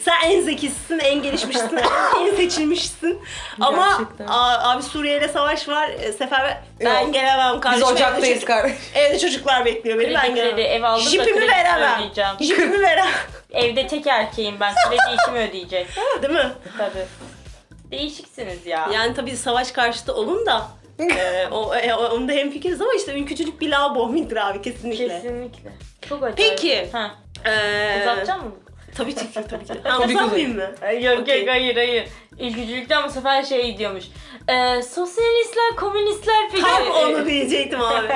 S3: Sen en zekisisin, en gelişmişsin, en seçilmişsin. Ama
S1: Gerçekten.
S3: a- abi Suriye'yle savaş var. e, Sefer ben
S1: Yok.
S3: gelemem
S1: Biz
S3: kardeşim. evde,
S1: ocaktayız
S3: çocuk-
S1: kardeş.
S3: evde çocuklar bekliyor beni. Ben
S2: Kredileri
S3: gelemem.
S2: ev aldım da
S3: Jipimi
S2: kredi
S3: veremem.
S2: ödeyeceğim.
S3: Jipimi veremem.
S2: Evde tek erkeğim ben. Krediyi kim ödeyecek? <laughs>
S3: Değil mi?
S2: Tabii. Değişiksiniz ya.
S3: Yani tabii savaş karşıtı olun <laughs> da. e, o, e, o- onda hemfikiriz ama işte ülkücülük bir lavabomingdir abi kesinlikle.
S2: Kesinlikle. Çok acayip.
S3: Peki.
S2: Ha.
S3: Ee,
S2: Uzatacak mısın?
S3: Tabii <laughs> ki tabii ki.
S1: Tabii ki
S3: Anlatmayayım mı?
S2: Ay, Ee, Yok
S3: Okey.
S2: yok hayır hayır. İlgicilikten bu sefer şey diyormuş. Ee, sosyalistler, komünistler peki.
S3: Tam
S2: Ee,
S3: onu diyecektim <laughs> abi.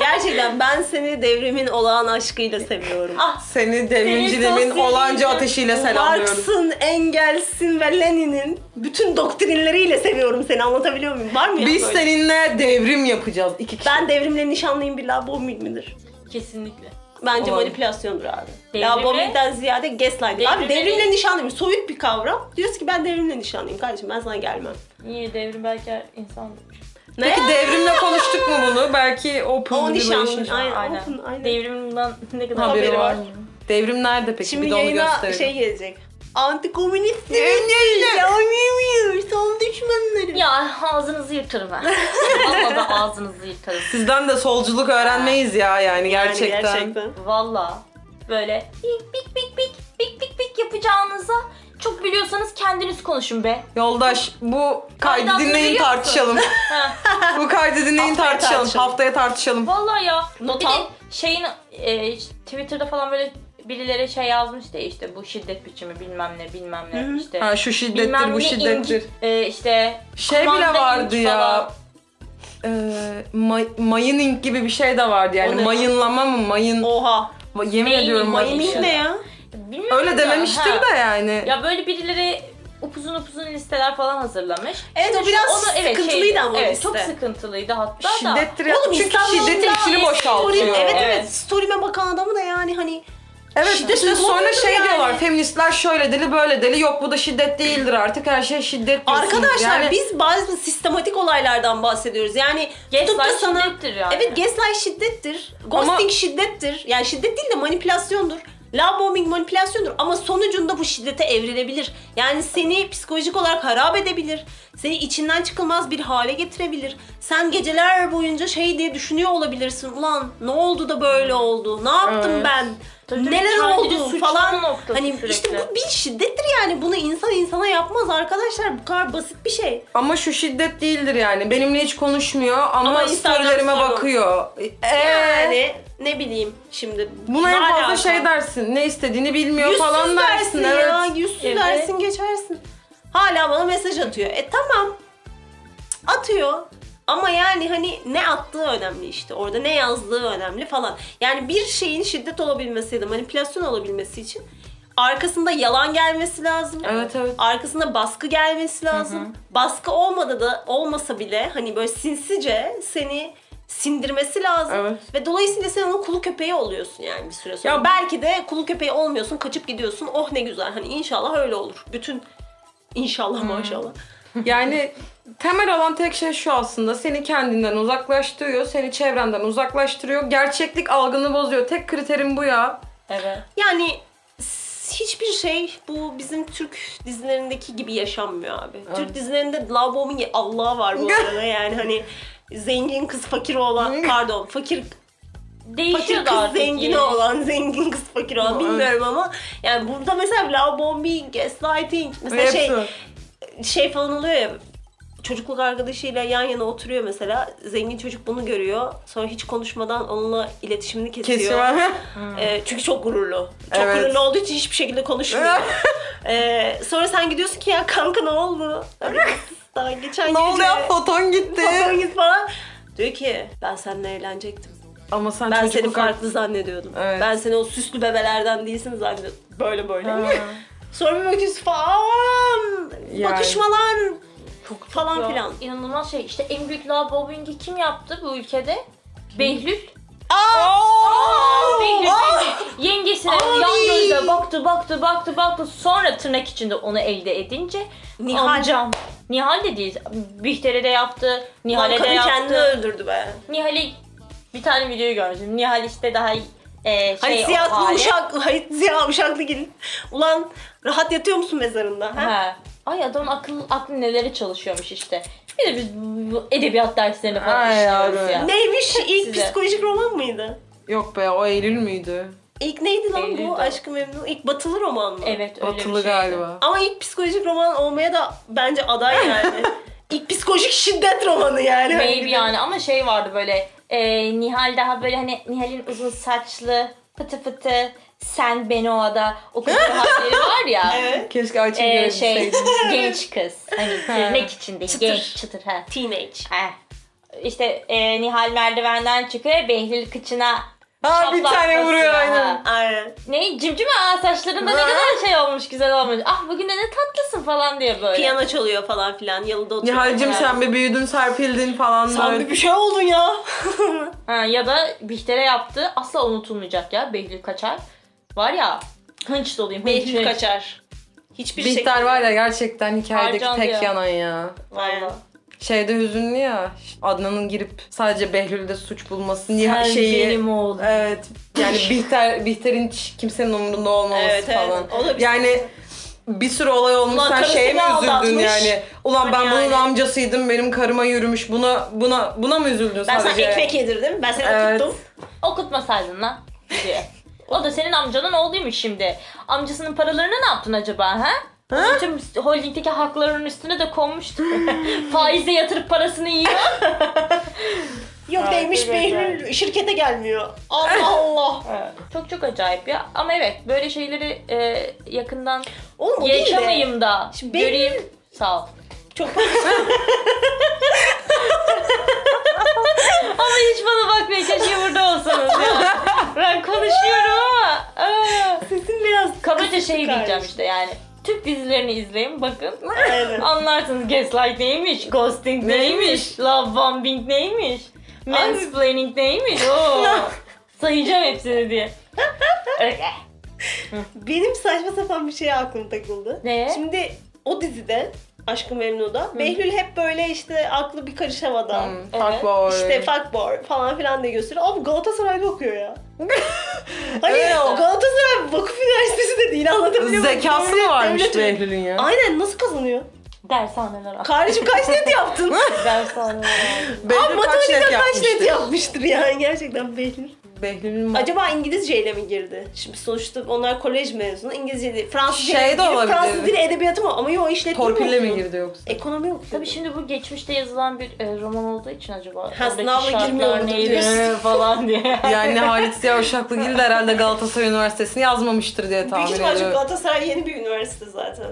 S3: Gerçekten ben seni devrimin olağan aşkıyla seviyorum.
S2: Ah
S1: Seni devrimciliğin
S2: sosyal-
S1: olanca ateşiyle selamlıyorum.
S3: Marx'ın, Engels'in ve Lenin'in bütün doktrinleriyle seviyorum seni anlatabiliyor muyum? Var mı ya
S1: Biz
S3: böyle?
S1: seninle devrim yapacağız iki kişi.
S3: Ben devrimle nişanlıyım billah bu midir?
S2: kesinlikle.
S3: Bence
S1: Olabilir.
S3: manipülasyondur abi.
S2: Devrimle-
S3: Ya bombiden ziyade gaslighting.
S2: Devrimle
S3: Abi devrimle
S2: değil.
S3: nişanlıyım. Soyut bir kavram. Diyorsun ki ben devrimle nişanlıyım kardeşim ben sana gelmem.
S2: Niye devrim belki insandır.
S3: Ne?
S1: Peki devrimle konuştuk mu bunu? Belki open
S3: O nişanlı.
S1: relationship-
S3: Aynen.
S2: Aynen.
S3: open, aynen.
S2: Devrimin bundan ne kadar
S1: Haberi var.
S2: mı?
S1: Devrim nerede peki?
S3: Şimdi
S1: bir de onu
S3: yayına
S1: gösterelim.
S3: şey gelecek. Antikomünist
S1: Yayın yayını.
S3: Yayınlayamıyor. Son düşmanları.
S2: Ya ağzınızı yırtarım ben. Valla da ağzınızı yırtarım.
S1: Sizden de solculuk öğrenmeyiz ya yani gerçekten.
S3: Yani gerçekten.
S2: Valla böyle bik bik bik bik bik bik bik yapacağınıza çok biliyorsanız kendiniz konuşun be.
S1: Yoldaş bu kaydı
S2: Kaydı
S1: dinleyin
S2: biliyor musun?
S1: tartışalım. bu kaydı dinleyin
S3: Haftaya
S1: tartışalım.
S3: tartışalım.
S1: Haftaya tartışalım.
S2: Valla ya.
S3: Not
S2: bir
S3: al.
S2: de şeyin e, Twitter'da falan böyle birileri şey yazmış da işte bu şiddet biçimi bilmem ne bilmem ne
S3: Hı hı.
S2: işte.
S1: Ha, şu şiddettir
S2: bilmem
S1: bu
S2: ne
S1: şiddettir.
S2: inci- e, işte
S1: Şey bile
S2: kumanda
S1: vardı
S2: inci
S1: ya.
S2: falan.
S1: Ee, may- mayıning gibi bir şey de vardı
S3: O
S1: yani.
S3: ne?
S1: Mayınlama mı? Mayın.
S3: Oha.
S1: Yemin
S2: Mayın-
S1: ediyorum
S2: mayın-
S1: mayın.
S3: Emin ne ya?
S2: Bilmiyorum
S1: Öyle
S2: ya,
S1: dememiştir
S2: ha.
S1: de yani.
S2: Ya böyle birileri upuzun upuzun listeler falan hazırlamış.
S3: Evet, o
S2: işte
S3: biraz sıkıntılıydı
S2: şeydi,
S3: ama o
S2: evet,
S3: liste.
S2: çok sıkıntılıydı hatta da.
S1: Şiddettir ya.
S3: Oğlum
S1: Çünkü
S3: İstanbul'da
S1: şiddetin içini
S2: eski
S1: boşaltıyor.
S3: Evet evet.
S2: Evet.
S3: Story'me bakan adamı da yani hani
S1: Evet
S3: Şiddet
S1: işte sonra
S3: uygulamayın
S1: şey
S3: yani.
S1: diyorlar feministler şöyle deli böyle deli yok bu da şiddet değildir artık her şey şiddet diyorsun.
S3: Arkadaşlar
S1: Yani
S3: biz bazı sistematik olaylardan bahsediyoruz. Yani tutup da
S2: Gaslight
S3: sana...
S2: şiddettir yani.
S3: Evet gaslight şiddettir. Ghosting
S1: Ama-
S3: şiddettir. Yani şiddet değil de manipülasyondur. Love bombing manipülasyondur ama sonucunda bu şiddete evrilebilir. Yani seni psikolojik olarak harap edebilir. Seni içinden çıkılmaz bir hale getirebilir. Sen geceler boyunca şey diye düşünüyor olabilirsin. Ulan ne oldu da böyle oldu? Ne yaptım
S1: Hmm. Evet.
S3: ben?
S2: Tabii tabii,
S3: Neler
S2: kendini
S3: oldu
S2: suçlama
S3: falan.
S2: noktası
S3: Hani işte
S2: sürekli.
S3: bu bir şiddettir yani. Bunu insan insana yapmaz arkadaşlar. Bu kadar basit bir şey.
S1: ama şu şiddet değildir yani benimle hiç konuşmuyor ama,
S3: Ama Instagram
S1: storylerime
S3: story.
S1: bakıyor. Ee,
S3: Yani ne bileyim şimdi.
S1: Buna en
S3: ne
S1: fazla
S3: alaka?
S1: şey dersin ne istediğini bilmiyor
S3: Yüzsüz
S1: falan dersin.
S3: dersin ya.
S1: evet.
S3: Yüzsüz
S2: Evet.
S3: dersin geçersin. Hala bana mesaj atıyor. E tamam. Cık, Atıyor. Ama yani hani ne attığı önemli işte. Orada ne yazdığı önemli falan. Yani bir şeyin şiddet olabilmesi ya da manipülasyon olabilmesi için arkasında yalan gelmesi lazım.
S1: Evet evet.
S3: Arkasında baskı gelmesi lazım. Baskı olmadı da olmasa bile hani böyle sinsice seni sindirmesi lazım.
S1: Evet.
S3: Ve dolayısıyla sen onun kulu köpeği oluyorsun yani bir süre sonra.
S1: Ya-
S3: Ya belki de kulu köpeği olmuyorsun, kaçıp gidiyorsun. Oh ne güzel. Hani inşallah öyle olur. Bütün inşallah
S1: Hmm.
S3: maşallah.
S1: Yani temel olan tek şey şu aslında. Seni kendinden uzaklaştırıyor, seni çevrenden uzaklaştırıyor. Gerçeklik algını bozuyor. Tek kriterim bu ya.
S2: Evet.
S3: Yani s- hiçbir şey bu bizim Türk dizilerindeki gibi yaşanmıyor abi. Türk dizilerinde love bombing
S1: <laughs>
S3: Allah var bu arada yani hani zengin kız fakir olan pardon fakir
S2: Değişiyor
S3: fakir
S2: da
S3: kız
S2: artık.
S3: zengin
S2: yine.
S3: olan, zengin kız fakir olan bilmiyorum ama yani burada mesela love bombing, gaslighting mesela
S1: Hepsi.
S3: şey şey falan oluyor ya çocukluk arkadaşıyla yan yana oturuyor mesela zengin çocuk bunu görüyor sonra hiç konuşmadan onunla iletişimini kesiyor.
S1: Kesiyor.
S3: Ee, çünkü çok gururlu. Çok
S1: Evet.
S3: gururlu olduğu için hiçbir şekilde konuşmuyor.
S1: <laughs>
S3: Ee, sonra sen gidiyorsun ki ya kanka ne oldu? Daha
S1: <laughs>
S3: geçen
S1: ne
S3: <laughs>
S1: oldu
S3: gece
S1: ya foton gitti.
S3: falan git falan. Diyor ki ben seninle evlenecektim.
S1: Ama sen
S3: Ben seni
S1: çocukluk
S3: farklı zannediyordum.
S1: Evet.
S3: Ben seni o süslü bebelerden değilsin zannediyordum. Böyle böyle. Sonra bir bakıyorsun falan.
S1: Yani.
S3: Bakışmalar. Çok falan
S2: Ya,
S3: filan.
S2: İnanılmaz şey. İşte en büyük love bombing'i kim yaptı bu ülkede? Behlül.
S3: Aa!
S2: Behlül,
S3: Aa!
S2: Behlül. Yengesine
S3: Ay!
S2: yan gözle baktı baktı baktı baktı. Sonra tırnak içinde onu elde edince
S3: Nihal.
S2: amcam. Nihal de değil. Bihter'e de yaptı.
S3: Lan
S2: Nihal'e de
S3: Kadın
S2: yaptı.
S3: kendini öldürdü be.
S2: Nihal'i bir tane videoyu gördüm. Nihal işte daha e,
S3: Hani
S2: şey o
S3: siyah
S2: hali.
S3: uşak, hayır siyah uşaklı gelin. Ulan rahat yatıyor musun mezarında? Ha?
S2: He. Ay adamın akıl, aklı neleri çalışıyormuş işte. Bir de biz bu- bu edebiyat derslerini falan
S1: Ay
S2: işliyoruz
S1: yavrum.
S2: ya.
S3: Neymiş? İlk
S2: size.
S3: psikolojik roman mıydı?
S1: Yok be o Eylül müydü?
S3: İlk neydi lan
S2: Eylül'de o.
S3: bu? Aşkı Memnu. İlk batılı roman mı?
S2: Evet öyle bir şey
S1: Batılı
S2: şeydi.
S1: galiba.
S3: Ama ilk psikolojik roman olmaya da bence aday <laughs> yani. ilk psikolojik şiddet romanı yani.
S2: Maybe yani ama şey vardı böyle e, Nihal daha böyle hani Nihal'in uzun saçlı fıtı fıtı sen Benoa'da
S1: <laughs>
S2: o kızın halleri var ya.
S3: Evet.
S1: Keşke Ayça'yı
S2: Ee, şey
S1: görebilseydim.
S2: <laughs> genç kız. Hani tırnak içinde
S3: Çıtır.
S2: genç çıtır ha.
S3: Teenage.
S2: Ha. İşte e, Nihal merdivenden çıkıyor Behlül kıçına
S1: Ha bir tane
S2: şaplakması
S1: vuruyor
S2: ya.
S1: aynen.
S3: Aynen.
S2: Ne cimcime aa saçlarında ne
S3: Ha.
S2: kadar şey olmuş güzel olmuş. Ah bugün de ne tatlısın falan diye böyle.
S3: Piyano çalıyor falan filan. Yalıda oturuyor.
S1: Nihal'cim sen bir büyüdün serpildin falan
S3: Sen
S1: böyle.
S3: bir şey oldun ya.
S2: Ha, ya da Bihter'e yaptığı asla unutulmayacak ya Behlül Kaçar. Var ya hınç doluyum. hınç,
S3: Behlül
S2: hınç.
S3: kaçar. Hiçbir şey-
S1: Bihter
S3: şekilde.
S1: var ya gerçekten hikayedeki
S2: şey- Harcandı
S1: tek
S2: ya.
S1: yanan ya.
S2: Vallahi.
S1: Şeyde hüzünlü ya. Adnan'ın girip sadece Behlül'de suç bulması Nihal
S2: Sen
S1: şeyi.
S2: benim oğlum.
S1: Evet. Yani
S3: <laughs>
S1: Bihter Bihter'in hiç kimsenin umurunda olmaması
S3: Evet, evet.
S1: falan.
S3: O da bir-
S1: yani bir sürü olay olmuş
S3: Ulan
S1: sen şeye mi
S3: karısını
S1: üzüldün
S3: aldatmış.
S1: yani? Ulan ben
S3: Hani
S1: bunun
S3: yani.
S1: amcasıydım benim karıma yürümüş. Buna buna buna mı üzüldün
S3: Ben sana
S1: sadece?
S3: ekmek yedirdim. Ben seni
S1: Evet.
S3: tuttum.
S2: Okutmasaydın lan diyor. O da senin amcanın oğluymuş şimdi. Amcasının paralarını ne yaptın acaba ha?
S1: Ha?
S2: Bütün holdingdeki hakların üstüne
S3: <laughs>
S2: de konmuştu. Faizle yatırıp parasını yiyor.
S3: Yok
S2: Ay,
S3: neymiş
S2: çok
S3: Behlül şirkete gelmiyor. Allah Allah.
S2: Çok çok acayip ya. Ama evet böyle şeyleri e, yakından
S3: Oğlum o değil de.
S2: yaşamayayım da.
S3: Şimdi benim-
S2: Göreyim. Sağ ol.
S3: Çok <laughs>
S2: Ama hiç bana bakmayın keşke burada olsanız <laughs> ya. Ben konuşuyorum ama. aa.
S3: sesin biraz
S2: Kabaca şey diyeceğim
S3: kardeşim.
S2: işte yani. Türk dizilerini izleyin bakın.
S3: Aynen.
S2: Anlarsınız gaslight neymiş, ghosting neymiş, love bombing neymiş, mansplaining neymiş. <laughs> Oo. Sayacağım hepsini <laughs> diye. Öyle.
S3: Benim saçma sapan bir şeye aklım takıldı.
S2: Ne?
S3: Şimdi o dizide Aşkı Memnu'da Behlül hep böyle işte aklı bir karış havada.
S1: Hmm,
S2: Evet.
S1: fuckboy.
S3: İşte fuckboy falan filan diye gösteriyor. Abi Galatasaray'da
S1: <laughs>
S3: okuyor ya. hani
S1: Evet.
S3: Galatasaray Vakıf Üniversitesi de değil anlatabiliyor muyum?
S1: Zekası mı
S3: Devlet-
S1: varmış
S3: devlet-
S1: Behlül'ün ya?
S3: Aynen nasıl kazanıyor?
S2: Dershaneler al.
S3: Kardeşim kaç net yaptın?
S2: Dershaneler al.
S3: Abi
S1: Behlül kaç
S3: matematikten
S1: net
S3: kaç net
S1: yapmıştı?
S3: yapmıştır yani gerçekten Behlül.
S1: Behlül'ün
S3: Acaba İngilizceyle mi girdi? Şimdi sonuçta onlar kolej mezunu. İngilizce, Fransızca
S1: Şey de
S3: girip
S1: olabilir.
S3: Fransız dili edebiyatı mı? Ama yok işletme
S1: torpille mi
S3: okuyor?
S1: girdi yoksa?
S3: Ekonomi okuyor.
S2: Tabii şimdi bu geçmişte yazılan bir e, roman olduğu için acaba oradaki
S3: sınavla
S2: şartlar
S3: girmiyor mudur
S2: neydi
S3: diyorsun.
S2: falan diye.
S1: <laughs> Yani Halit Ziya Uşaklıgil de herhalde Galatasaray Üniversitesi'ni yazmamıştır diye
S3: Büyük
S1: tahmin
S3: ihtimal çünkü
S1: ediyorum.
S3: Galatasaray yeni bir üniversite zaten.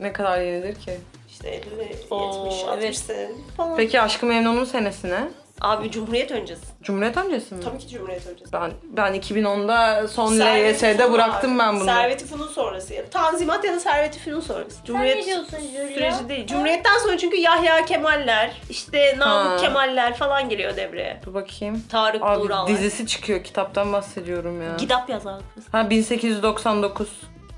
S1: Ne kadar yenidir ki?
S3: İşte 50, 70,
S2: Oo,
S3: 60
S2: evet.
S3: sene falan.
S1: Peki Aşkı Memnun'un senesine?
S3: Abi Cumhuriyet öncesi.
S1: Cumhuriyet öncesi mi?
S3: Tabii ki Cumhuriyet öncesi.
S1: Ben ben 2010'da son
S3: Servet
S1: LYS'de
S3: Fünun
S1: bıraktım
S3: abi.
S1: ben bunu.
S3: Servet-i Fünun sonrası. ya. Tanzimat ya da Servet-i Fünun sonrası.
S2: ne diyorsun Julia?
S3: süreci değil. Cumhuriyet'ten sonra çünkü Yahya Kemaller, işte Namık
S1: Ha.
S3: Kemaller falan giriyor devreye.
S1: Dur bakayım.
S3: Tarık
S1: Abi
S3: Durallar.
S1: dizisi çıkıyor. Kitaptan bahsediyorum ya.
S3: Gidap yazar.
S1: Ha 1899.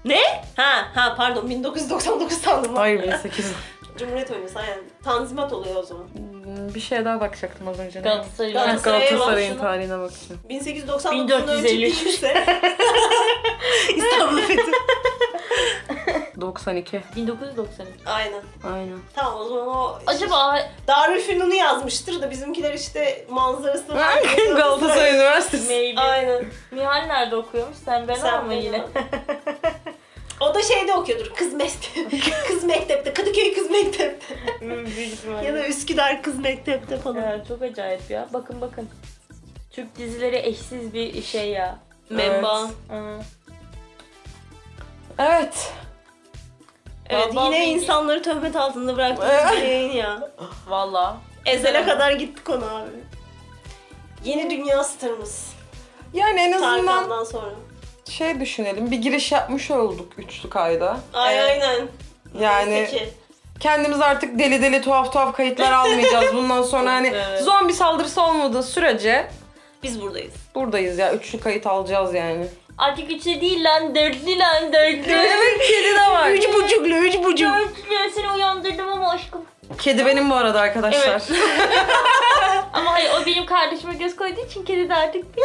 S3: Ne? Ha ha pardon 1999 sandım.
S1: Hayır 1800.
S3: Cumhuriyet öncesi aynen. Tanzimat oluyor o zaman.
S1: Hmm, Bir şeye daha bakacaktım az önce.
S2: Galatasaray
S1: Ha,
S3: Galatasaray-
S2: Üniversitesi.
S1: Galatasaray'ın
S3: Şunu-
S1: tarihine bakacağım.
S3: 1899'un önce
S2: 1453.
S3: değilse <laughs> İstanbul Fethi.
S1: 92.
S2: 1992.
S3: Aynen.
S1: Aynen.
S3: Tamam o zaman o
S2: Acaba
S3: Darülfünun'u yazmıştır da bizimkiler işte manzarası
S1: Galatasaray Üniversitesi.
S2: maybe.
S3: Aynen.
S2: Nihal nerede okuyormuş? Sen ben
S3: Sen
S2: ama
S3: beni <laughs>
S2: yine.
S3: al. o da şeyde okuyordur. Kız <laughs> mektepte. kız mektepte. Kadıköy Kız Mektepte. <laughs>
S2: Hmm, Büyük ihtimalle.
S3: ya da Üsküdar Kız Mektepte falan.
S2: Ya çok acayip ya. Bakın bakın. Türk dizileri eşsiz bir şey ya.
S3: Memba.
S1: Evet.
S2: Aa.
S1: Evet.
S3: Evet
S2: Vallahi
S3: yine
S2: bilgi-
S3: insanları töhmet altında bıraktığımız bir yayın ya.
S2: Valla.
S3: Ezel'e kadar gitti konu abi. Yeni dünya starımız.
S1: Yani en azından
S3: Tarkan'dan sonra.
S1: şey düşünelim. Bir giriş yapmış olduk üçlü kayda.
S3: Ay
S2: Evet.
S3: aynen.
S1: Yani-
S3: Neyse ki.
S1: kendimiz artık deli deli tuhaf tuhaf kayıtlar almayacağız. Bundan sonra
S3: <laughs>
S1: hani
S2: Evet.
S1: zombi saldırısı olmadığı sürece
S3: Biz buradayız.
S1: buradayız ya. Üçlü kayıt alacağız yani.
S2: Artık üçlü değil lan. Dörtlü
S3: <laughs>
S2: lan. Dörtlü.
S1: Evet kedi de var.
S3: Üç buçuklu, üç buçuk.
S2: Dörtlü. Seni uyandırdım ama aşkım.
S1: Kedi benim bu arada arkadaşlar.
S2: Ama hayır o benim kardeşime göz koyduğu için kedi de artık bir.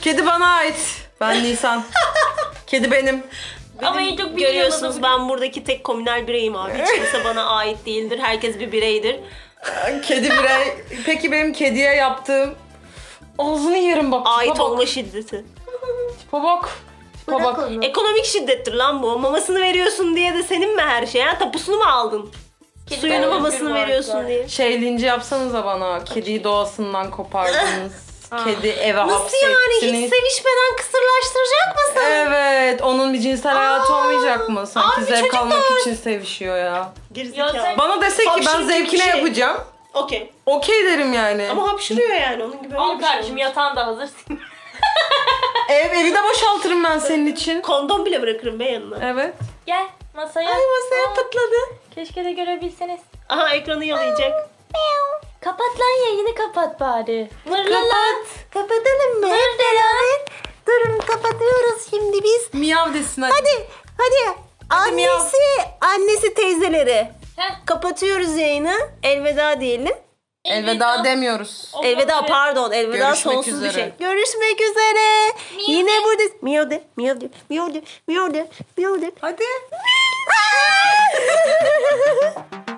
S1: <laughs> kedi bana ait. Ben
S3: <laughs>
S1: Nisan. kedi benim.
S2: Ama en çok bilinen
S3: Görüyorsunuz
S2: adamı-
S3: ben buradaki tek komünel bireyim abi.
S2: <laughs>
S3: Hiç kimse bana ait değildir. Herkes bir bireydir.
S1: Kedi birey. Peki benim kediye yaptığım ağzını yerim bak. Tipe
S3: Ait
S1: bak.
S3: olma şiddeti.
S1: Tipe bak. Tipe
S2: Bırak
S1: bak.
S2: onu.
S3: Ekonomik şiddettir lan bu. Mamasını veriyorsun diye de senin mi her şey? Ha tapusunu mu aldın?
S2: Kedi
S3: Suyunu
S2: de
S3: mamasını
S2: özgür
S3: veriyorsun
S2: varlıklar.
S3: diye.
S1: Şey linci yapsanıza bana. Kediyi doğasından kopardınız. kedi eve
S3: Ah. Nasıl yani hiç
S1: hapsettiniz.
S3: sevişmeden kısırlaştıracak mısın?
S1: Evet, onun bir cinsel hayatı
S3: Aa,
S1: olmayacak mı? Sanki
S3: abi
S1: zevk
S3: çocuklar.
S1: almak için sevişiyor ya.
S3: Gerizekalı.
S2: Ya sen-
S1: Bana dese ki ben
S3: Hapşırıcı bir
S1: zevkine
S3: şey.
S1: yapacağım.
S3: Okey.
S1: Okey derim yani.
S3: Ama hapşırıyor yani onun gibi. öyle
S2: Al
S3: bir şey
S2: kardeşim
S3: olmaz.
S2: yatağın da hazır.
S1: Ev, evi de boşaltırım ben senin için.
S3: Kondom bile bırakırım be yanına.
S1: Evet.
S2: <laughs> Gel masaya.
S3: Ay masaya patladı.
S2: Keşke de görebilseniz.
S3: Aha ekranı yalayacak.
S2: Kapat lan yayını kapat bari. Mırlalat.
S3: Kapatalım mı?
S2: Dur Delanet.
S3: Durun kapatıyoruz şimdi biz.
S1: Miyav desin hadi.
S3: hadi.
S1: Annesi-
S3: annesi teyzeleri.
S2: Heh.
S3: Kapatıyoruz yayını. Elveda diyelim.
S1: Elveda demiyoruz.
S2: O
S3: Elveda
S2: kadar.
S3: pardon. Elveda
S1: Görüşmek
S3: sonsuz
S1: üzere.
S3: bir şey. Görüşmek üzere.
S2: Miyav
S3: Yine
S2: de.
S3: buradayız. Miyav de. Miyav de. Miyav de. Miyav de. Miyav de.
S1: Hadi.
S3: Aa! <laughs>